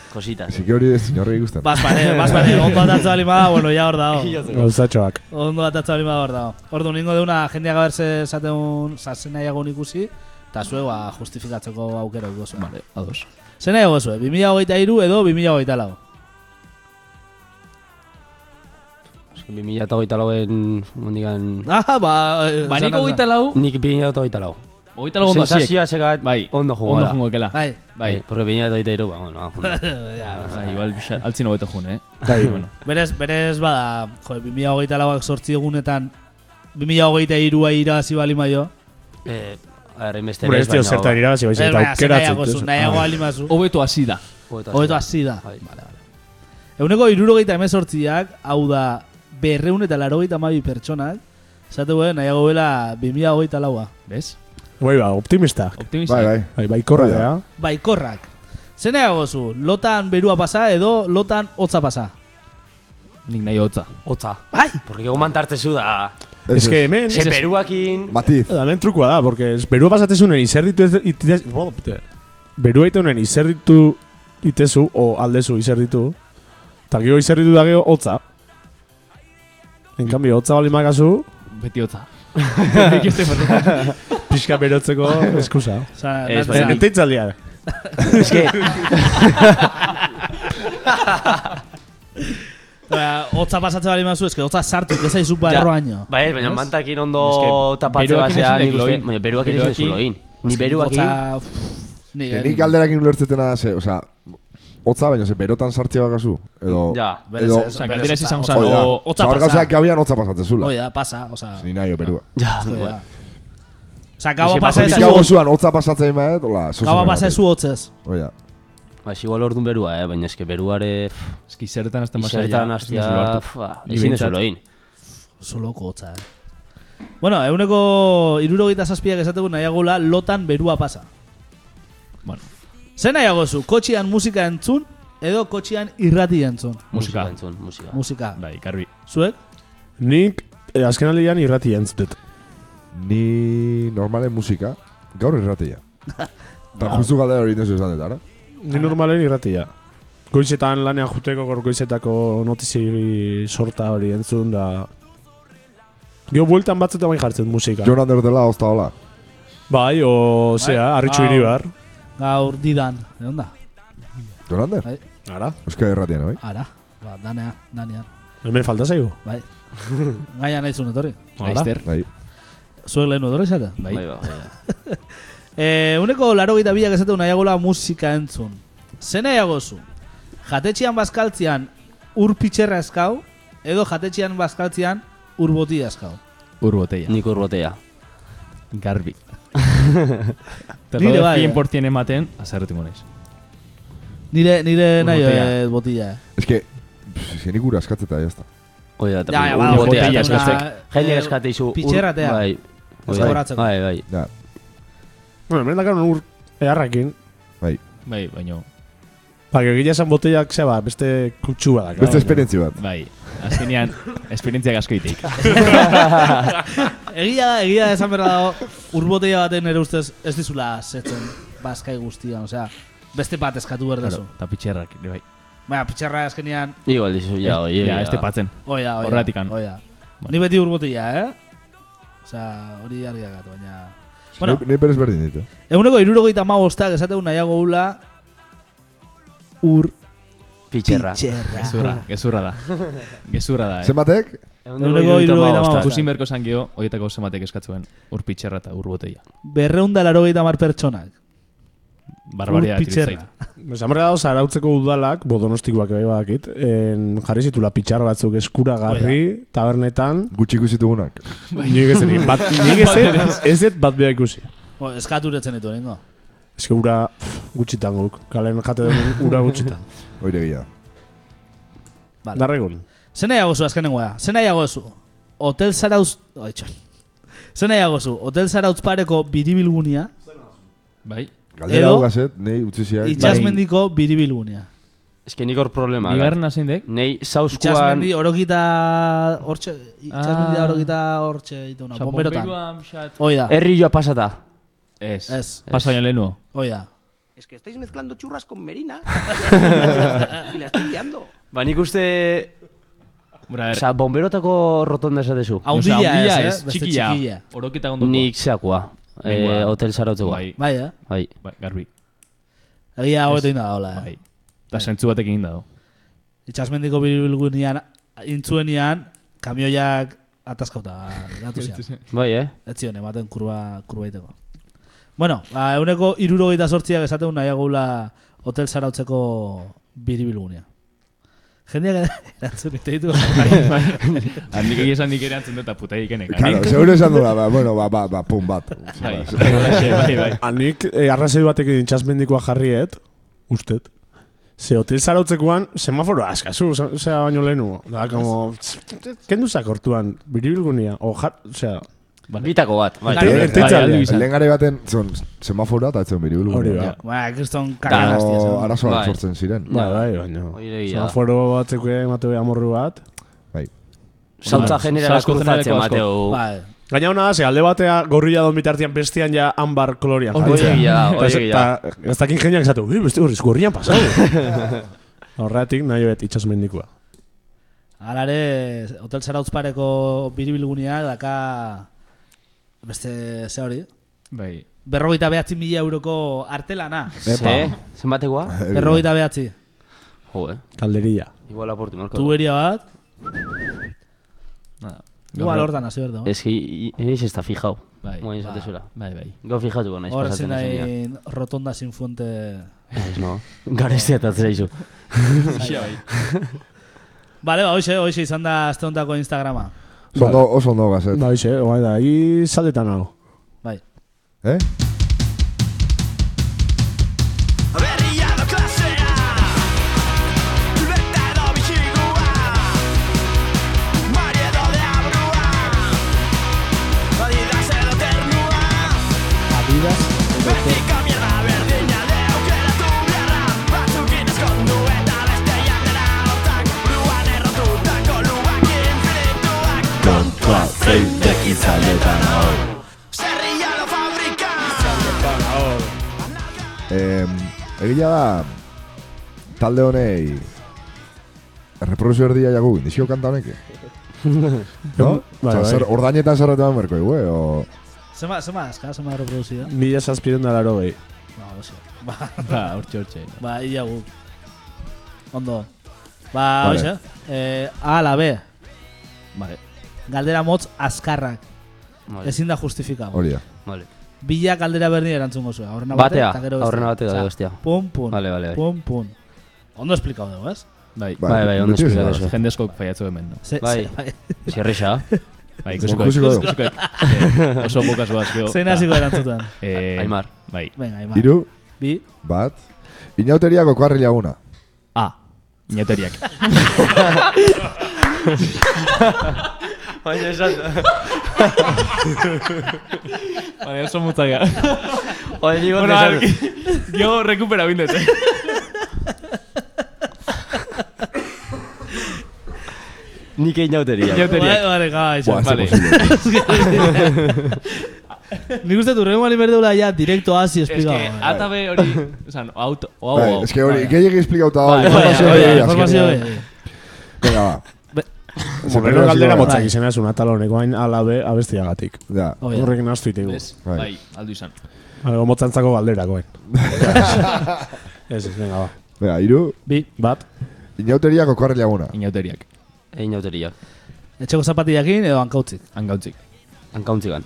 Kositas.
Así que hori ez inorri ikusten.
Bai,
Bas pare, bas pare, ondo atatza bali bada, bueno, ya hor dago.
Gauzatxoak.
Ondo atatza bali bada hor dago. Ordu ningo deuna, jendeak abertze zaten zazen nahiago ikusi, eta zue, ba, justifikatzeko aukera dugu zuen. Vale.
Ados.
Zen nahiago zue, 2023 edo 2024.
Bi mila eta hogeita lauen mundikan...
Ah, ba... eh,
Ba,
esan
niko
alda.
goita lau.
Nik bi mila eta hogeita lau.
Goita lau ondo hasiek.
Sensazioa zekat
Bai.
ondo
Ondo
jugada.
jungo ekela.
Bai.
Bai.
Porque bi mila eta hogeita hiru, ba, bueno, ah, bueno.
Bai, igual pixka- altzin hobeto jun, eh?
Bai.
Bueno.
Berez, berez, bada, jo, 2024 lauak sortzi egunetan, 2023 irua irabazi bali maio.
Eh, a ver, inbeste
Hombre,
bez,
ez dio zertan
baina...
irabazi, baizik
Ez,
eta Ah. Bai.
baina, ze
aukera
nahiago zu,
zuten.
nahiago bali mazu.
Hobeto hasi da.
Hobeto hasi da.
Bai.
Vale, vale. Euneko irurogeita emezortziak, hau da, berreun eta larogeita mabi pertsonak, esate guen, nahiago bela 2024 laua.
Bez?
Bai, ba, optimista.
Optimista.
Bai, bai.
Bai, bai, korra
Bai,
da.
Baikorrak. Zer nahiago zu, lotan berua pasa edo lotan hotza pasa?
Nik nahi hotza.
Otza.
Bai!
Porque egon mantartzezu da...
Ez que Bai, hemen...
Ze peruakin...
Matiz.
Hemen trukua da, porque ez- berua pasatezunen izer ditu... ez- itez- bo, pute. Berua itezunen izer ditu itezu, o aldezu izer ditu. Eta gero izer ditu da gero hotza. En cambio, hotza bali makazu,
Beti hotza.
pixka berotzeko eskusa.
Osa,
Ez,
natza-
baina-
Eta itzaldia.
Eske,
Ba, Hotza pasatze bali mazu, eske hotza sartu, ez zaizu barroaino.
bai, baina mantakin ondo
Eske,
tapatze
beruakin
basea,
ezin
nik uste,
loin.
baina peruakin ez
Beruakin-
duzu loin. Ni peruakin,
Hotza, pff, ni-
bai.
Nik alderakin ulertzetena, ze, osea, hotza baina, ze berotan sartzea bakazu. Edo...
ja.
berez,
edo-
ez,
Osa,
berez,
galdera
ez da,
izan
hotza-
zen,
Oida.
o-
hotza
Hor
pasa.
gauzak gabian hotza pasatzezula.
Hoi da, pasa, oza...
Ni nahi berua.
Ja,
Oza,
bueno.
gau
Ese
pasa
bajo
Nik
ez
Zu-
hau
zu...
zuan hotza pasatzen baet, hola, zuzen.
Gau pasa ez zu hotzez.
Oida.
Ba, ez igual ordun berua, eh? baina eske beruare
Eski zertan azten basea.
izertan
ja, ezin
hastia,
duzu hartu.
pf, ba,
Ni
ezin
behintzat.
duzu loin.
Zuloko hotza, eh. Bueno, euneko irurogeita zazpiak esategu nahiagula lotan berua pasa.
Bueno,
Zer nahiago zu, kotxian musika entzun edo kotxian irrati entzun?
musika.
entzun, musika.
Musika.
Bai, karbi.
Zuek?
Nik, eh, azken aldean irrati entzutet.
Ni normalen musika, gaur irratia. Eta justu galdera hori nesu esan dut, ara?
Ni normalen irratia. Goizetan lanean juteko gaur goizetako notizi sorta hori entzun da... Gio bueltan batzuta bain jartzen musika.
Jonan derotela hozta hola.
Bai, Ah, o, zea, harritxu
Hau.
hiri behar.
Gaur didan, egon da?
Jonan der?
Bai.
Ara.
Euskal irratian, bai?
Ara. Ba, danea, danean.
Hemen falta zaigu.
Bai. Gaia nahi zuen etorri.
Aister.
Bai.
Zuek lehen etorri zara? Bai.
Bai, ba, bai, ba.
E, uneko laro gita bilak esatu nahiagola musika entzun. Ze nahiago zu? Jatetxean bazkaltzean ur pitxerra eskau, edo jatetxean bazkaltzean ur botia eskau.
Urboteia.
Nik urbotea.
Garbi. Eta
Nire
daude
bai, eh.
100% ematen, azarretuko naiz.
Nire, nire nahi
Urbotea.
eh, botila.
Es que, pff, zenik ura askatzeta, jazta.
Hoi da,
Ja, ja,
eta
ba,
urbotea.
urbotea,
eta
una-
eskaztek. Jende
eh,
eskate izu. ur-
pitxerratea.
Bai. Bai,
Zaboratzeko.
Bai, bai.
Ja,
Bueno, hemen dakarun ur eharrakin.
bai.
Bai, baino.
Ba, que esan botellak zea ba, beste kutsua da.
Beste esperientzi bat.
Bai, azkenean, esperientziak asko ditik.
Egia da, egia da esan berra dago, urboteia baten nire ustez ez dizula setzen bazkai guztia, osea, beste bat eskatu behar dezu.
Eta pitxerrak, ere bai.
Baina, pitxerra azkenean,
Igual dizu, ja, oi.
ja, Eh, este patzen.
oia, oia.
Horratikan.
Oia.
Bueno.
Ni beti urboteia, eh? Osea, hori argi dakat, baina... Bueno,
Bueno. Nei berez berdin ditu.
eguneko irurogeita magostak esateu nahiago hula ur
Pitxerra.
pitxerra.
Gezurra, gezurra da. Gezurra da, eh.
Zenbatek?
Eguneko irurogeita magostak.
Ikusin berko zan geho, horietako zematek eskatzuen ur pitxerra eta ur boteia.
Berreunda larogeita mar pertsonak.
Barbaria
Ur pitxerra.
zait.
Zamorra dauz, arautzeko udalak, bodonostikoak bai badakit, en, jarri zitula pitxar batzuk eskuragarri, tabernetan,
Gutxi ikusi dugunak.
nik ez eri, bat, nik ez eri, ez dut bat behar ikusi.
Bo, eskaturetzen ditu, nengo.
Ez que ura pff, gutxitan guk, kalen jate dugu ura gutxitan.
Oire gila.
Vale.
Darregun.
Zer nahiago zu azkenengoa? Zer nahiago zu? Hotel Zarauz... Oh, etxo. Zer nahiago zu? Hotel Zarauz pareko biribilgunia,
Bai,
Galdera
Edo- Bai.
hau gazet, nei utzi ziak.
itxasmendiko biribilgunia.
Ez que nik hor problema. bai.
bigarren azeindek,
Nei, zauzkuan...
Itxasmendi horokita... Hortxe... Itxasmendi
Ah. Eh.
horokita hortxe dituna, bomberotan.
xat...
Hoi da,
Ah. Herri joa pasata.
Ez,
Ez.
pasa baino lehenuo.
hoi da.
Es que estáis mezclando churras con merina. y la estoy liando.
Ba, nik uste...
Bura, er,
Osa, bomberotako rotonda esatezu.
Haundila
Osea,
ez,
haundila
eh? Beste
txikia.
txikia.
Oroketa gondoko.
Nik zeakoa. Eh,
Nengua.
hotel zarautzeko.
Bai,
Bai, eh?
Bai.
bai, garbi.
Egia hobeto inda hola, eh?
Bai. Eta sentzu batekin egin dago.
Itxasmendiko biribilgunean, intzuenian, kamioiak atazkauta gatu zian.
Bai, eh?
Ez zion, ematen kurba, kurbaiteko. Bueno, ba, euneko irurogeita sortziak esaten nahiagula hotel zarautzeko biribilgunea. Jendeak erantzun ite ditu.
Handik egia esan Bai, nik ere antzen dut aputa egikenek.
Claro, seguro esan dula, ba, bueno, ba, ba, ba, pum, bat.
Bai, bai, bai.
Anik eh, arrazoi batekin itxasmendikoa jarriet, ustet. Ze hotel zarautzekoan, semaforo askazu, osea baino lehenu. Da, como, kendu zakortuan, biribilgunia, o jar, osea,
Bitako bat. Bai.
Bai,
Eh,
bai,
Titza,
aldu izan.
lehen gare baten, zon, semafora eta etzen biri bulu.
Hori da.
ba, kriston
Eta
kakaraztia zen.
arazoak
Bai.
sortzen ziren.
Bai, bai, baino.
Hori egia da.
Semaforo batzeko emate beha morru bat.
Bai.
Saltza
Bai.
generalaz
Saltza
kruzatzea,
generaleko asko.
Mateo.
Bai,
Gaina hona da, ze alde batea gorrilla don bitartian bestean ja ambar kolorian.
Hori
jartzen.
egia da, hori
Eta ez-
egia da.
eta Ez dakin geniak esatu, ui, beste horriz gorrian pasau. Horretik nahi bet itxasmendikoa.
alare, hotel zarauzpareko biribilgunea daka beste, ze hori,
Bai.
berrogeita behatzi mila euroko artelana.
Eh? Zenbatekoa?
Berrogeita behatzi.
Jo, eh?
Kalderilla.
Igual aportu, marko.
Tuberia bat,
Nada.
igual hortan hasi berdo.
Ez que inoiz ez da fijau.
Bai.
Guain esatezula.
Bai, bai.
Gau fijatuko naiz
Hor e- ezin
pasatzen esenean.
nahi rotonda sin fuente.
Ez, no. Gaur ez zeatatzera izu.
Bale, ba, hoxe, hoxe izan da azte hontako Instagrama.
Zondo, oso ondo gazet.
Da, Ba, hoxe, oa da, hi zaldetan hau.
Bai.
Eh?
Berria do klasea Beta do bitxigua Marie do deabrua Adidas edo ternua Adidas Betiko mierda berdina deukeratu beharra Batzukin eskondu eta besteian dena otak Buruan errotutako lubak infinituak Kontua zein dekizaletan hau Zerria lo fabrika
Eh, egia da, talde honei, reproduzio erdia jagu, indizio kanta honek. no?
Bai,
Osa,
bai.
zer, ordainetan zerretan berko, gue, o...
Zema, zema, azka, zema reproduzida.
Mila zazpiren da laro gehi.
Bai,
Ba, hoxe. Ba,
Ba, hortxe, hortxe.
ba, ia gu. Ondo. Ba,
Vale.
hoxe, eh, A ala B,
Vale.
galdera motz azkarrak.
Vale.
Ezin da justifikau.
Hori da.
Vale.
Bila galdera berni erantzungo zuen. Aurrena
Batea,
eta gero
aurrena batea
Osea,
da bestea.
Pum, pum.
Vale, vale, bai.
Pum, pum. Ondo esplikau dugu, ez?
Bai.
Bai,
Bai, bai, ondo
beti
esplikatu
bezala.
duzu.
Jende askok faiatzu hemen, no?
Ze,
Bai.
ze- bai.
Zierrisa.
Bai, ikusiko
Ikusiko
dut,
dugu.
ikusiko dut. Eh, Oso pokas guaz, gero.
Oh.
Ba,
Zein hasiko erantzuten.
Eh,
Aimar.
Bai.
Venga, Aimar.
Hiru,
Bi.
bat. Inauteria gokoarri laguna.
A. Inauteriak.
Baina esan da.
Baina oso mutak gara.
Oye, digo,
Bueno, a ver, Yo recupera bindet, eh.
Nik inauteria.
Bai,
Inauteriak.
Bale, gai.
Buah, ez da
vale.
posible.
Nik uste turrengo mali berdeula ja, direkto hazi
Es
esplikau.
que ata be hori... Osan, auto... Oau,
Bai,
oau.
es que hori, gehiagik esplikauta da.
Bai,
Informazio
bai, bai,
gehiago,
Informazio
azkenean.
hori.
Venga, ba.
Be-
Se
Moreno
primero
galdera
hasiko gara.
motzak izena zuen ataloneko hain alabe abestiagatik.
Ja.
Hoi da.
Horrekin astu itigu.
Ez,
Bai.
Bai, aldu izan.
Algo motzantzako galdera goen. Ez, ez, venga, ba.
Venga, hiru.
Bi.
Bat,
Inauteria gokoarri laguna.
Oh. Inauteriak.
Inauteria.
Etxeko zapatillakin edo hankautzik.
Hangautzik.
Hankauntzigan.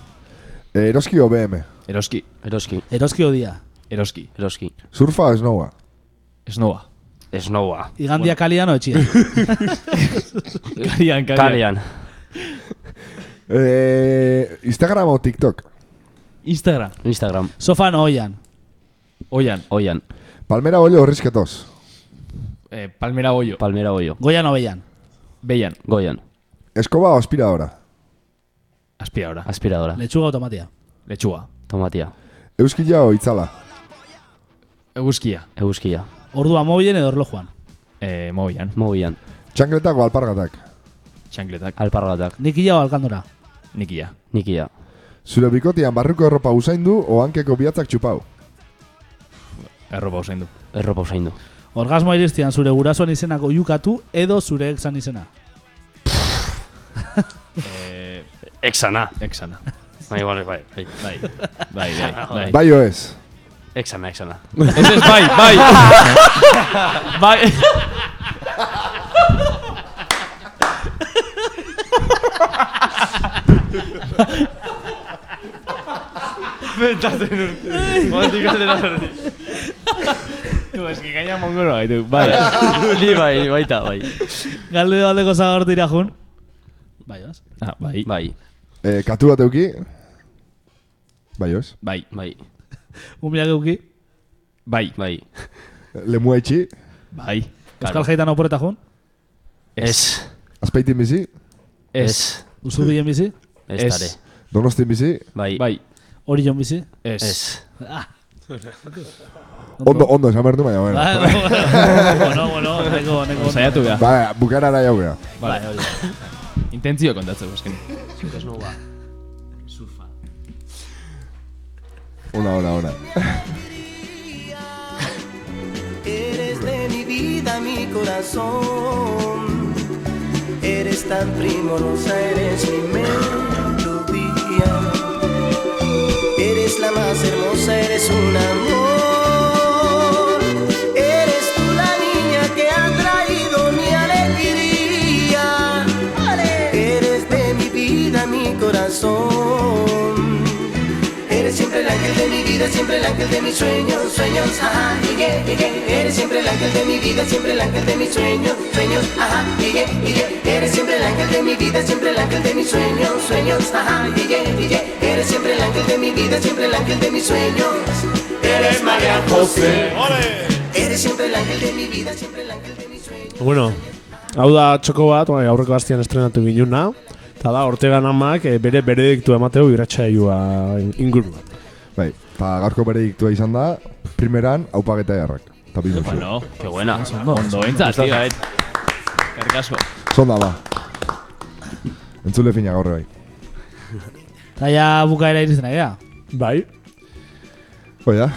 Eh, Eroski o BM.
Eroski.
Eroski.
Eroski odia.
Eroski.
Eroski.
Surfa o snowa.
Esnoa.
Esnoa.
Igandia kalian o etxia.
Kalian, kalian.
Kalean.
Eh, Instagram o TikTok.
Instagram.
Instagram.
Sofan oian.
Oian.
Oian.
Palmera olio horrizketoz.
Eh, palmera Goio.
Palmera Oio.
Goian obeian.
Beian.
Goian.
Eskoba o aspiradora.
Aspiradora.
Aspiradora.
Lechuga automatia.
Lechuga.
Tomatia.
Euskila o itzala.
Eguzkia.
Eguzkia.
Ordua mobilen edo erlojuan.
Eh, mobian.
Mogian.
Txankletak o alpargatak.
Txankletak.
Alpargatak.
Nik hila alkandora.
Nikia.
Nikia.
Zure bikotian barruko erropa usaindu o hankeko bihatzak txupau.
Erropa usain du.
Erropa usaindu.
Orgasmo iristian zure gurasoan izenako jukatu edo zure exan izena.
Eh,
Exana.
exana.
Bai, bai, bai. bai.
Bai. Bai, bai, bai.
Bai o ez.
Exana, exana.
Ez ez, bai, bai. bai. Bentatzen urte. Bati galdera berdi. Tu, eski gaina mongoro gaitu. Bai.
Ni bai, baita, bai.
Galde aldeko zagortira jun. Bai, oz?
Ah, bai.
Bai,
Eh, katu bat euki. Bai o ez.
Bai.
bai,
Umiak euki.
Bai.
bai.
Lemua itxi.
Bai.
Euskal jaitan oporeta jun.
Ez,
Azpeitin bizi.
ez,
Uzu bilen bizi.
ez
Ez.
tare.
Donostin bizi.
Bai,
Bai.
Hori jon bizi.
Ez.
ez.
Ondo, ondo, esan behar du, baina, bueno.
Bai, bueno, bueno, neko, neko.
Saiatu beha.
Ba, bukarara jau gara.
Bai, hori. Intentzio kontatzeko azken.
Ona, ona, ona.
Eres de mi vida, mi corazón. Eres tan primorosa, eres mi melodía. Eres la más hermosa, eres un amor. Eres tú la niña que ha traído mi alegría. Eres de mi vida, mi corazón. Eres siempre el ángel de mi vida, siempre el ángel de mis sueños, sueños, ajá, llegué, llegué. Eres siempre el ángel de mi vida, siempre el ángel de mis sueños, sueños, ajá, llegué, llegué. Eres siempre el ángel de mi vida, siempre el ángel de mis sueños, sueños, ajá, llegué, llegué. Eres siempre el ángel de mi vida, siempre el ángel de mis sueños. Eres María José. Eres siempre el ángel de mi vida, siempre el ángel de mis sueños.
Bueno, hau da txoko bat, bai, aurreko astian estrenatu ginuna, eta da, Ortega namak eh, bere berediktu emateu iratxaiua inguruan.
Bai, eta gaurko bere diktua izan da, primeran, haupageta jarrak. Eta bi musu.
Bueno,
Qué buena.
ondo eh. entzat, tío, eh. Karkaso.
Zonda, ba. Entzule fina gaur bai.
Taia bukaera iristen ari da.
Bai,
Hoi da?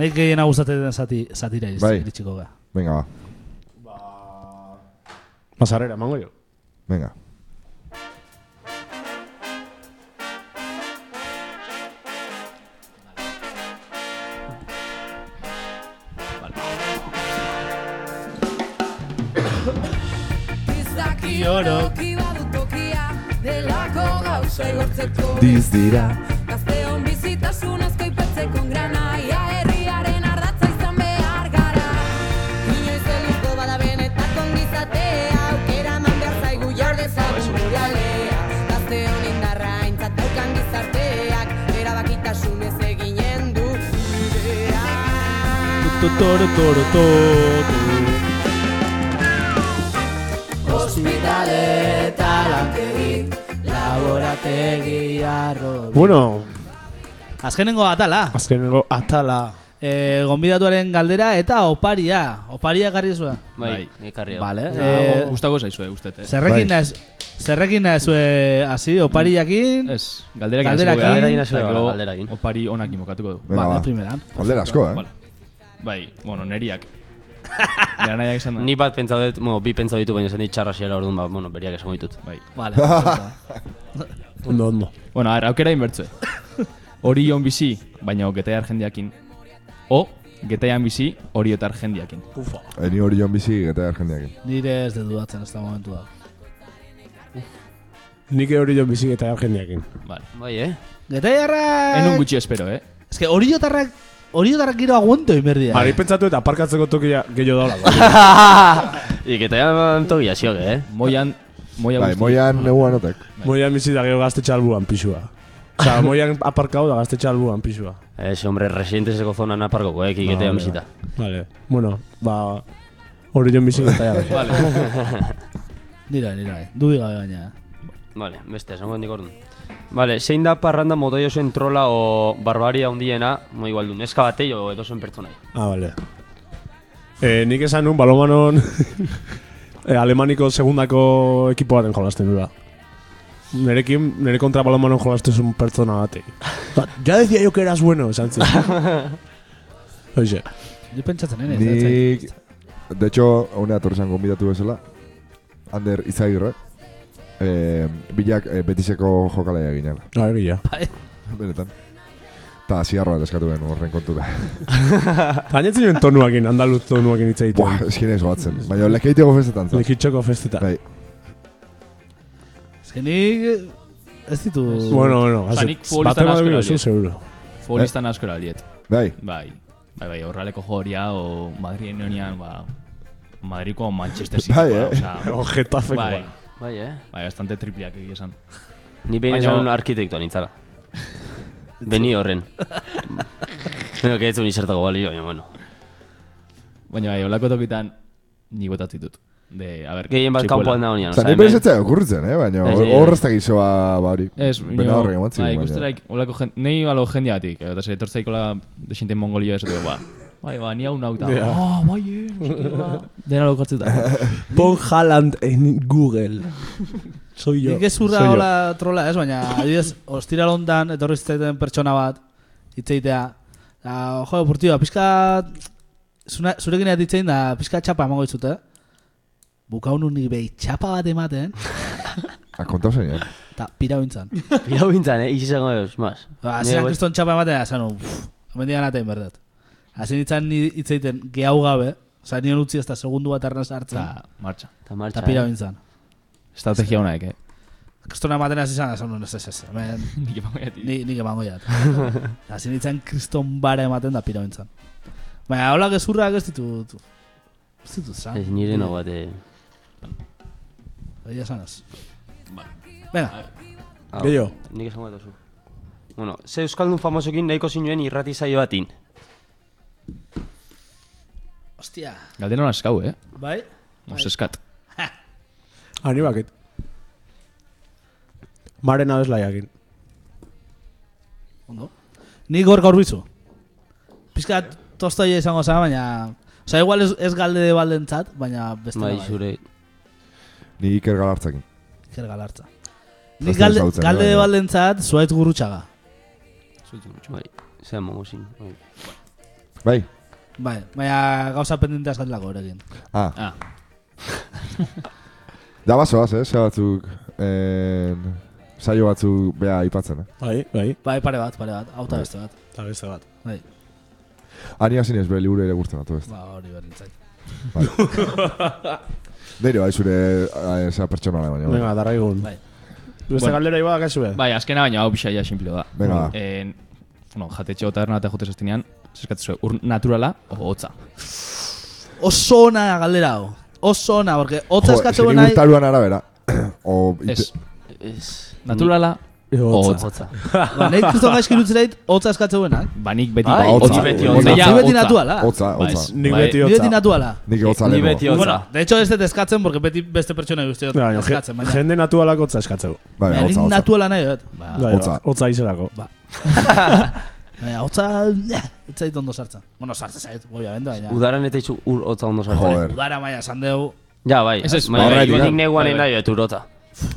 Naik gehiena gustatzen den zati, zatira
Bai.
iristen, iritsiko ga.
Venga, ba.
pasarera, mango jo.
Venga.
Segortzeko
Diz dira
Gazteon bizitasun asko ipatzeko grana Ia herriaren ardatza izan behar gara Inoiz helduko bada benetako ongizatea Aukera eman behar zaigu jar dezagun gure alea Gazteon indarra aintzat daukan gizarteak Erabakitasunez eginen du bidea
Toro, toro, toro.
Hospitale eta lantegi Laborategi arrobi
Bueno,
Azkenengo atala
azkenengo ah, atala.
eh, Gonbidatuaren galdera eta oparia Oparia garri zuen
Bai, ekarri hau.
Vale
Eh,
eh,
Gustako zaizue, ustet, eh?
Zerrekin
Bai.
naiz Zerrekin naizue hasi opariakin
Ez, galderak
Galderak
hasiko gara,
egin.
eta
Galderak
gero
galderak egin.
Opari onak imokatuko du.
Venga,
Vale,
ba.
primeran
Aldera asko, eh?
Vale. Bai, bueno, neriak. Nera nahiak esan da.
Ni bat pentsa dut, bueno, bi pentsa ditu, baina zen itxarra zela orduan, ba, bueno, beriak esango ditut.
Bai.
Vale perfecto.
Ondo, ondo.
Bueno, a ver, aukera inbertze. Hori on bizi, baina getear jendeakin. O, getean bizi, hori otar jendeakin.
Eni hori joan bizi eta jendeak.
Nire ez dut dudatzen ez da momentua
Nik hori joan bizik eta jendeakin.
Vale.
Bai, eh?
Getaiarrak
En un gutxi espero, eh?
Ez que horiotarrak Horiotarrak gero aguento inberdia
Ari pentsatu eta aparkatzeko tokia gehiago daula.
Ik eta ja tokia zioke, eh?
Moian, moia
Bai,
guzti.
moian neguan otek.
moian bizi da gero gazte txalbuan pixua. Osa, moian aparkau da gazte txalbuan pixua.
Ese, hombre, residenteseko zonan aparkoko, eh,
Ah,
kiketean
vale,
bizita.
Vale. Bueno, ba... Hori joan bizi eta jarri.
Vale.
Nira, nira, dudik gabe gaina
Vale, beste, esango hendik orduan. Vale, zein da parranda motoi osoen trola o barbaria hundiena, mo igual du, neska batei o edozen pertsonai.
Ah, vale. Eh, nik esan nun, balomanon... eh, Alemaniko segundako ekipoaren jolasten dura. Nerekin, nere kontra balomanon jolasten zuen pertsona bati. Ba, Ja decía yo que eras bueno, esan zuen. Oixe.
Ni pentsatzen nire
Nik... De hecho, hona etorri zan gonbidatu bezala. Ander Izairre. Eh, bilak eh, betiseko jokalaia ginen.
Ah, egia.
Benetan. Ta ziarroa deskatu ben horren kontura.
Gainetzen joen tonuakin, andaluz tonuakin hitz
Buah,
egiten.
eskin ez goatzen. Baina lekeiteko festetan zan.
Lekitxoko festeta.
Bai,
Ez que nik Ez ditu
Bueno, bueno,
Osa,
hazet-
nik futbolistan
baten bat
asko
bino zu,
erabili.
seguro.
Futbolistan asko erabiliet.
bai.
Bai. Bai, bai, horraleko joria, o Madrid neonian, ba... Madriko Manchester City.
Bai,
ba,
eh?
osea,
O Getafe,
Bai,
Bai, eh?
bai, bastante tripliak egia esan.
Ni behin
Baina-
esan arkitektoa nintzala. Beni horren. Baina, que ez du nizertako balio, baina, bueno.
Baina bai, holako tokitan ni botatzen ditut. De, a ber,
Gehien bat
txipuela.
kanpoan da honean,
Zan,
oza,
ni pentsatzean okurritzen, eh? Baina
Ez, ez.
horrez da gizoa, ba, hori.
Ez,
Bena horre ematzik.
Bai, ikusteraik, olako jen, nahi balo jendeatik, eh, eta zer, etortzeik hola desinte mongolio ez, ba, bai, ba, ni hau nauta.
Ja.
Ah, bai, eh, no sé qué, ba. dena lokatzeta.
Pon Haaland en Google. Soy
Nik ez urra hola trola ez, baina adibidez, ostira londan, etorri zitzaiten pertsona bat, itzeitea, da, jo, portioa, pixka, zuna, zurekin egin ditzein da, pizka txapa emango eh? ditzute, bukaun nik behi txapa bat ematen,
Akontau zein, eh?
eta pira bintzan.
Pira bintzan, eh? Ixizago eus, mas.
Ba,
Ni
zelan
hau-
kriston txapa ematen, azan, uff, mendian atein berdet. Hazin ditzan ni itzeiten gehau gabe, oza, nion utzi ez da segundu bat arnaz
Ah.
hartzen,
Eta, martxa.
Ta martxa,
eta pira
eh?
bintzan.
Estrategia honaek, eh.
Kristona ematen hasi izan, azan, ez ez ez, hemen
Nik eman gaiatik.
Ni, nik emango jat. Hasi nintzen kriston bara ematen da pira bintzan. Baina hola gezurrak ez ditut... Ez ditut zan.
Ez nire no bat, eh?
Egia esan ez. Venga,
Hau.
Gehiago?
Nik esango dut zu. Bueno, ze Euskaldun famosokin nahiko zinuen irrati zaio batin.
hostia.
Galdera hona eskau, eh.
Bai?
Mos eskat.
Ani baket. Maren abeslaiakin.
Ondo. Ni gaur gaur bizu. Pizka tostoia izango zan, baina... Osa, igual ez, ez galde de baldentzat, baina beste
Bai, zure...
Ni Iker Galartzakin.
Ker galartza. Ni
Tostoia
galde,
ezagutzen,
galde de
bai, bai.
baldentzat zuaitz gurutxaga.
Bai, zea mongo zin. bai.
Bai.
Bai, baina gauza pendenteaz galdelako horrekin.
Ah,
Ah,
da bazoaz, eh? Zea batzuk... Eh, saio batzuk bea aipatzen, eh?
Bai, bai.
Bai, pare bat, pare bat, auta beste bat.
Eta beste bat.
Bai,
Ani hasin ez, bere liburu ere guztien atu ez.
ba, hori behar nintzen.
Deire, bai, zure eh, esa pertsonala baina. bai.
Venga, darraigun.
Bai.
Beste galdera iba, kaixo be?
Bai, azkena baina hau bixa ja simple da.
Venga, ba.
En, bueno, jatetxe o taberna eta jute zestinean, zeskatzue, ur naturala o hotza.
Oso ona galdera hau. Oso ona, porque hotza eskatu
zeri
nahi...
gustaruan arabera. o,
Ez.
Ez.
Naturala o hotza.
Ba, nahi kriston gaizki irutzen dait, hotza eskatu benak.
Ba, nik beti
Bai,
bai,
hotza.
nik beti
Ni
hotza. Ja,
beti
hotza.
naturala.
Hotza,
Ba,
hotza.
ez,
Nik
bai,
beti
Ni beti
hotza.
natuala.
Nik hotza
Ni
lehengo.
beti hotza.
Bueno, de hecho ez dut eskatzen, porque beti beste pertsona guztiot
Baina, je-
eskatzen, baina... Ba.
Jende natualak hotza eskatzeu.
Bai,
Baina,
hotza,
nik
hotza.
natuala nahi dut.
Bai,
Hotza.
Hotza izerako.
Baina, hotza... eh, Ez zait ondo sartzen. Bueno, sartzen zait, obviamente, baina...
Udaran eta itxu ur hotza ondo sartzen.
Joder.
Udara, baina, esan dugu...
Ja, bai.
Ez, ez,
Baina,
horregatik
igual
da.
nik neguan
Bai, bai.
nahi dut urota.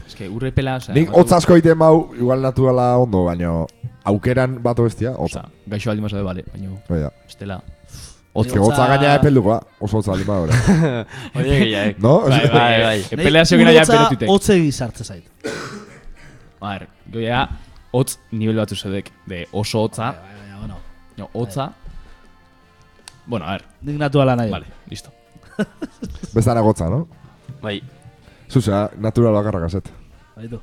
Ez que urre pela, osea,
Nik
batu-
hotza asko egiten bau, igual naturala ondo, baino aukeran bat bestia, hotza.
Osea, gaixo aldin basa de bale, baina
Baina,
bestela.
hotza, hotza gaina epeldukoa, oso hotza lima hori.
Hori egia, eh.
No?
Bai, bai, bai. Pelea zegoen ja pelotite.
Hotza egi sartzen zait.
Bar, goia, hotz nivel batu zedek, de oso hotza,
Baina, bueno,
no, hotza. Bueno, a ver,
nik natuala nahi dut.
vale, listo.
Bezana gotza, no?
Bai.
Zuza, naturala bakarra gazet.
Baitu.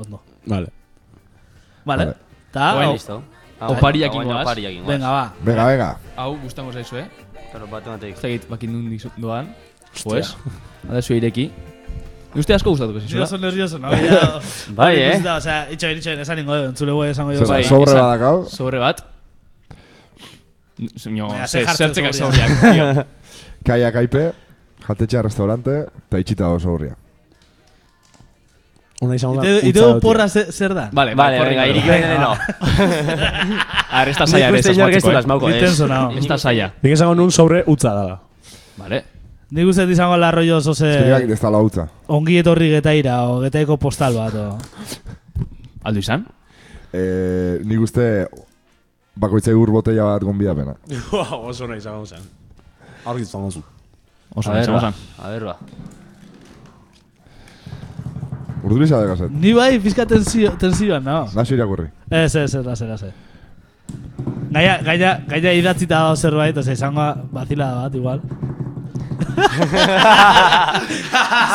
Ondo.
Vale.
Vale.
Vale.
Ta, Ah,
Bueno,
o-
Listo. Ah,
Opariak
Baina,
ingoaz.
Opariak ingoaz.
venga, va.
Venga,
Bai.
venga.
Hau, gustango zaizu, eh?
Pero bat emateik.
Ez dakit bakin nun dizu- doan. Pues, Hada zu ireki. Ni uste asko gustatuko eh?
Yo
zizula.
soy nervioso, ¿no? Ya-
Bai, eh.
ikusita, O sea, itxo, itxo, esan ningo, entzule guai esango jo.
Zer,
bai,
sobre
esan.
badakau,
Sobre bat. Zino,
Baina, ze
ze,
jartzen
zertzekak
sobrea.
zaureak. tio.
kaia kaipe, jatetxea restaurante, eta itxita oso hurria.
Una izango da.
Ite ite
hutsa
du
dut,
porra ze- zer da?
Vale,
Vale,
korrika.
venga, irik benen no.
Arresta
Nik
saia, ere,
uste
ez
inork ez
asmatuko,
dut
eh.
asmauko,
Ni
eh.
tenso nao.
Ez da saia.
Nik esango nun sobre utza dala.
Vale.
Nik uste dut izango la rollo
Eh.
Ezkeneak
zoze
ez dala hutza.
ongi etorri getaira o getaiko postal bat o.
Aldo izan?
Eh, nik uste bakoitzai ur botella bat gonbidapena.
Wow, oso nahi izango zen. Argi izango zen.
Oso,
A ver,
oso,
ba.
oso.
A ver, ba.
Urduriza de gazet.
Ni bai pizka tensio, tensioan, no?
Naso irakurri.
Ez, ez, ez, lase, lase. Gaia, gaia, gaia idatzita dago zerbait, oza, izango bazila bat, igual.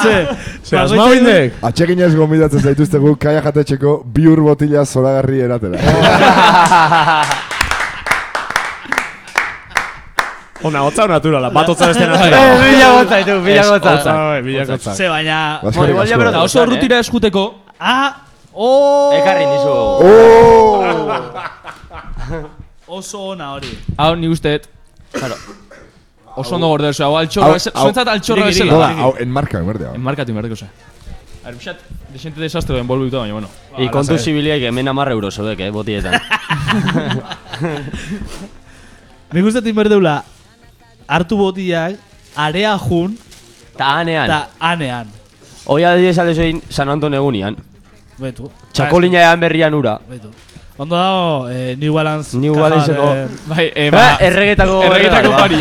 Ze, ba,
Ze,
bakoitzak-
asmabindek!
Atxekinez gonbidatzen zaituztegu kaia jatetxeko bi ur botila zoragarri eratera.
Oh,
Ona, hotza o naturala. Bat hotza beste
Eh,
naturala.
bila gotza, ditu, bila
Hotza,
gotza.
bai, bilak hotza.
Ze, baina...
Bueno, igual ya, pero
Eta oso urrutira eskuteko,
Ah! Oh!
eh. Ekarri nizu.
Oh!
Oso ona hori.
hau ni usteet, claro, oso ondo gorde duzu, hau altxorra,
Hau-
bezala-
hau-
zuentzat altxorra
iriki, iriki.
bezala.
Nola, hau, enmarka, berdea.
Enmarkatu inberteko ze. Arbixat, desente desastre den bolu baina, bueno.
I kontu zibiliek hemen amarra euro zodek, eh, botietan.
Nik uste inberdeula, hartu botiak, area jun,
Ta anean.
eta anean.
Hoi adidez alde zein San Anton egunian.
Betu.
Txakolina ean berrian ura.
Betu. Ondo dago, eh, New Balance...
New
kaja
Balanceko-
de-
Bai, eh,
Ba,
ba,
erregetako
erregetako
ba.
pari.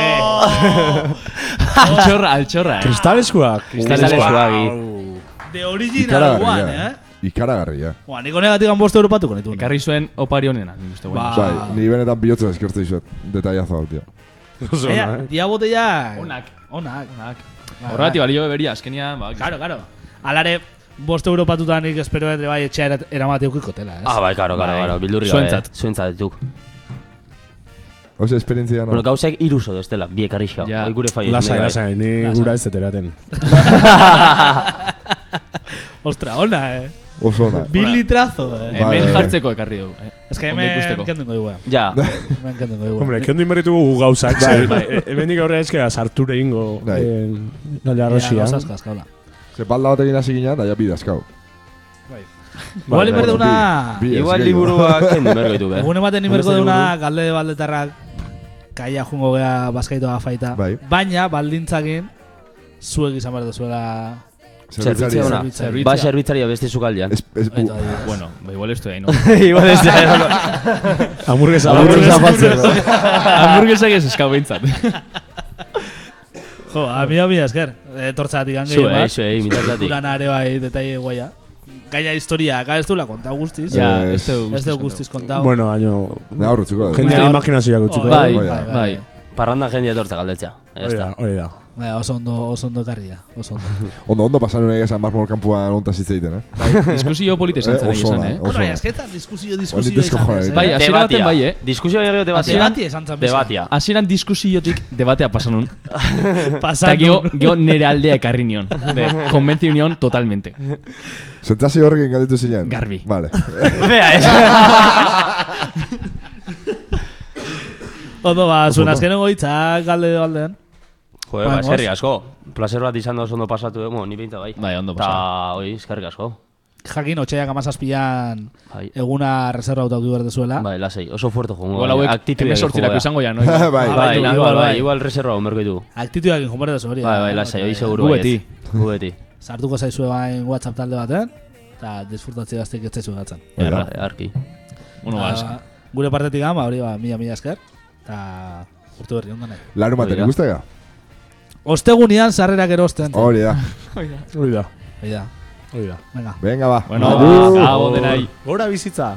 Eh,
Altxorra, altxorra, eh.
Kristaleskuak.
Kristalezkoak.
De original one,
Ikaragarria.
eh?
eh? Ikaragarria.
Boa, niko negatik bostu europatuko nitu.
Ekarri zuen opari honena, nik uste
Ba.
Ah.
guain.
Bai, ni benetan bihotza eskertu dizuet. Detailazo hau, tio.
Ea, dia botella...
Onak.
Onak. Onak.
Horrati balio beberia, azkenia, ba.
Claro, claro. Alare, bost europatuta nik espero dut bai etxea erat- eramate eh? ukikotela, ez?
Ah, bai, karo, karo, karo, bildurri gabe. eh.
Zuentzat.
Zuentzat, duk.
Oso, esperientzia
Bueno,
no.
gauzek iruso destela, biek arrixau.
Ja.
Ja. Gure
Bai,
bai.
Lasai,
faio.
lasai, ni gura ez eteraten.
Ostra, ona, eh?
Oso ona.
Bi litrazo, eh?
Bai,
Hemen
bai.
jartzeko ekarri dugu. eh.
Ez que
Ondo
hemen
ikusteko.
kenduko dugu, eh?
Ja,
Hemen kenduko dugu.
Hombre, kendu inberritugu gu gauzak. ze, e- Hemendik aurrera eskera sarture ingo.
Bai.
Nalea rosia.
Se balda batekin hasi ginen, da ja bidazkau.
Igual
Bai, bai,
inberde una...
bi- bi-
igual
ez,
liburuak kendu bergo ditu, eh.
Egun ematen
Hombre,
inberko
ez
deuna galde baldetarrak kaia jungo gea bazkaitoa faita.
Bai.
Baina, baldintzakin, zuek izan behar duzuela...
Zerbitzea ona.
Zerbitzea.
Ba, zerbitzaria beste zukaldian.
Ez, uh, ez, bu,
Eta, adibidez.
Bueno, ba, igual ez da, no?
Igual ez da.
Hamburguesa.
Hamburguesa batzen, no?
Hamburguesak ez eskau behintzat.
Jo, a mila mila esker. Etortzatik hangi
Zue, eh, zue, imitatik.
Urana ere bai detaile guaia. Gaia historia, gara ez duela konta guztiz.
Ja,
Ez.
ez da
Ez dugu guztiz kontau.
Bueno, año.
Na horretzuko da.
Jendea imaginazioak utziko. eh?
Bai,
Bai,
bai,
bai.
Parranda jendea etortza galdetzea. Ya
Hori da,
está.
hori da.
Baina, Bai, oso ondo, oso ondo ekarri da, oso ondo.
Ondo, ondo pasan nahi esan marmol kanpuan ontaz hitz egiten, eh?
diskusio polita izan zen, egia Bai, esan, eh?
Bueno, baina, esketan diskusio,
Hori
diskusio
dizko
izan.
joan,
zen,
Bai,
eh?
hasiera baten bai, eh?
Diskusio gehiago debatia.
Debati esan zan bezala.
Debatia.
Hasieran diskusiotik debatea pasan nun. Eta
Pasan
gio,
nun.
gio nere aldea ekarri nion. De, konbentzi nion totalmente.
Sentazio horrekin galditu zilean?
Garbi.
Vale. Ah.
Bea, ez.
Ondo, ba, zuen azkenengo hitzak galde galdean.
Joder, ba,
Vamos.
eskerrik asko. Placer bat izan da oso ondo pasatu, eh? Bueno, ni behinta bai.
Bai, ondo
Ta, oi, eskerrik asko.
Jakin otxaiak amazazpian
Bai.
eguna reserva autu behar dezuela.
Bai, lasei, oso fuerte jongo.
Igual hauek, hemen sortzirako izango ja, no?
bai,
Igual.
bai.
Bai,
Bai,
igual,
igual, bai.
bai, igual reserva omerko ditugu.
Aktituak injon behar dezu hori.
Bai,
da,
bai,
eh?
lasai,
Bai,
hoi
bai.
seguru
Gu
baietz.
beti.
Gu beti.
Sartuko zaizue bain WhatsApp talde batean, eta disfrutatzi gaztek ez zaizu gatzen.
Erra, arki.
Bueno,
Ba,
ba,
gure partetik ama, hori ba, mila mila esker, eta urte berri ondo nahi.
Larun baten
Oida.
ikustega?
Ostegunean sarrerak erosten.
Hori da.
Hori da,
Hori da.
hori da.
Venga.
Venga, ba.
bueno,
Agur.
ba, ba, denai.
Gora bizitza!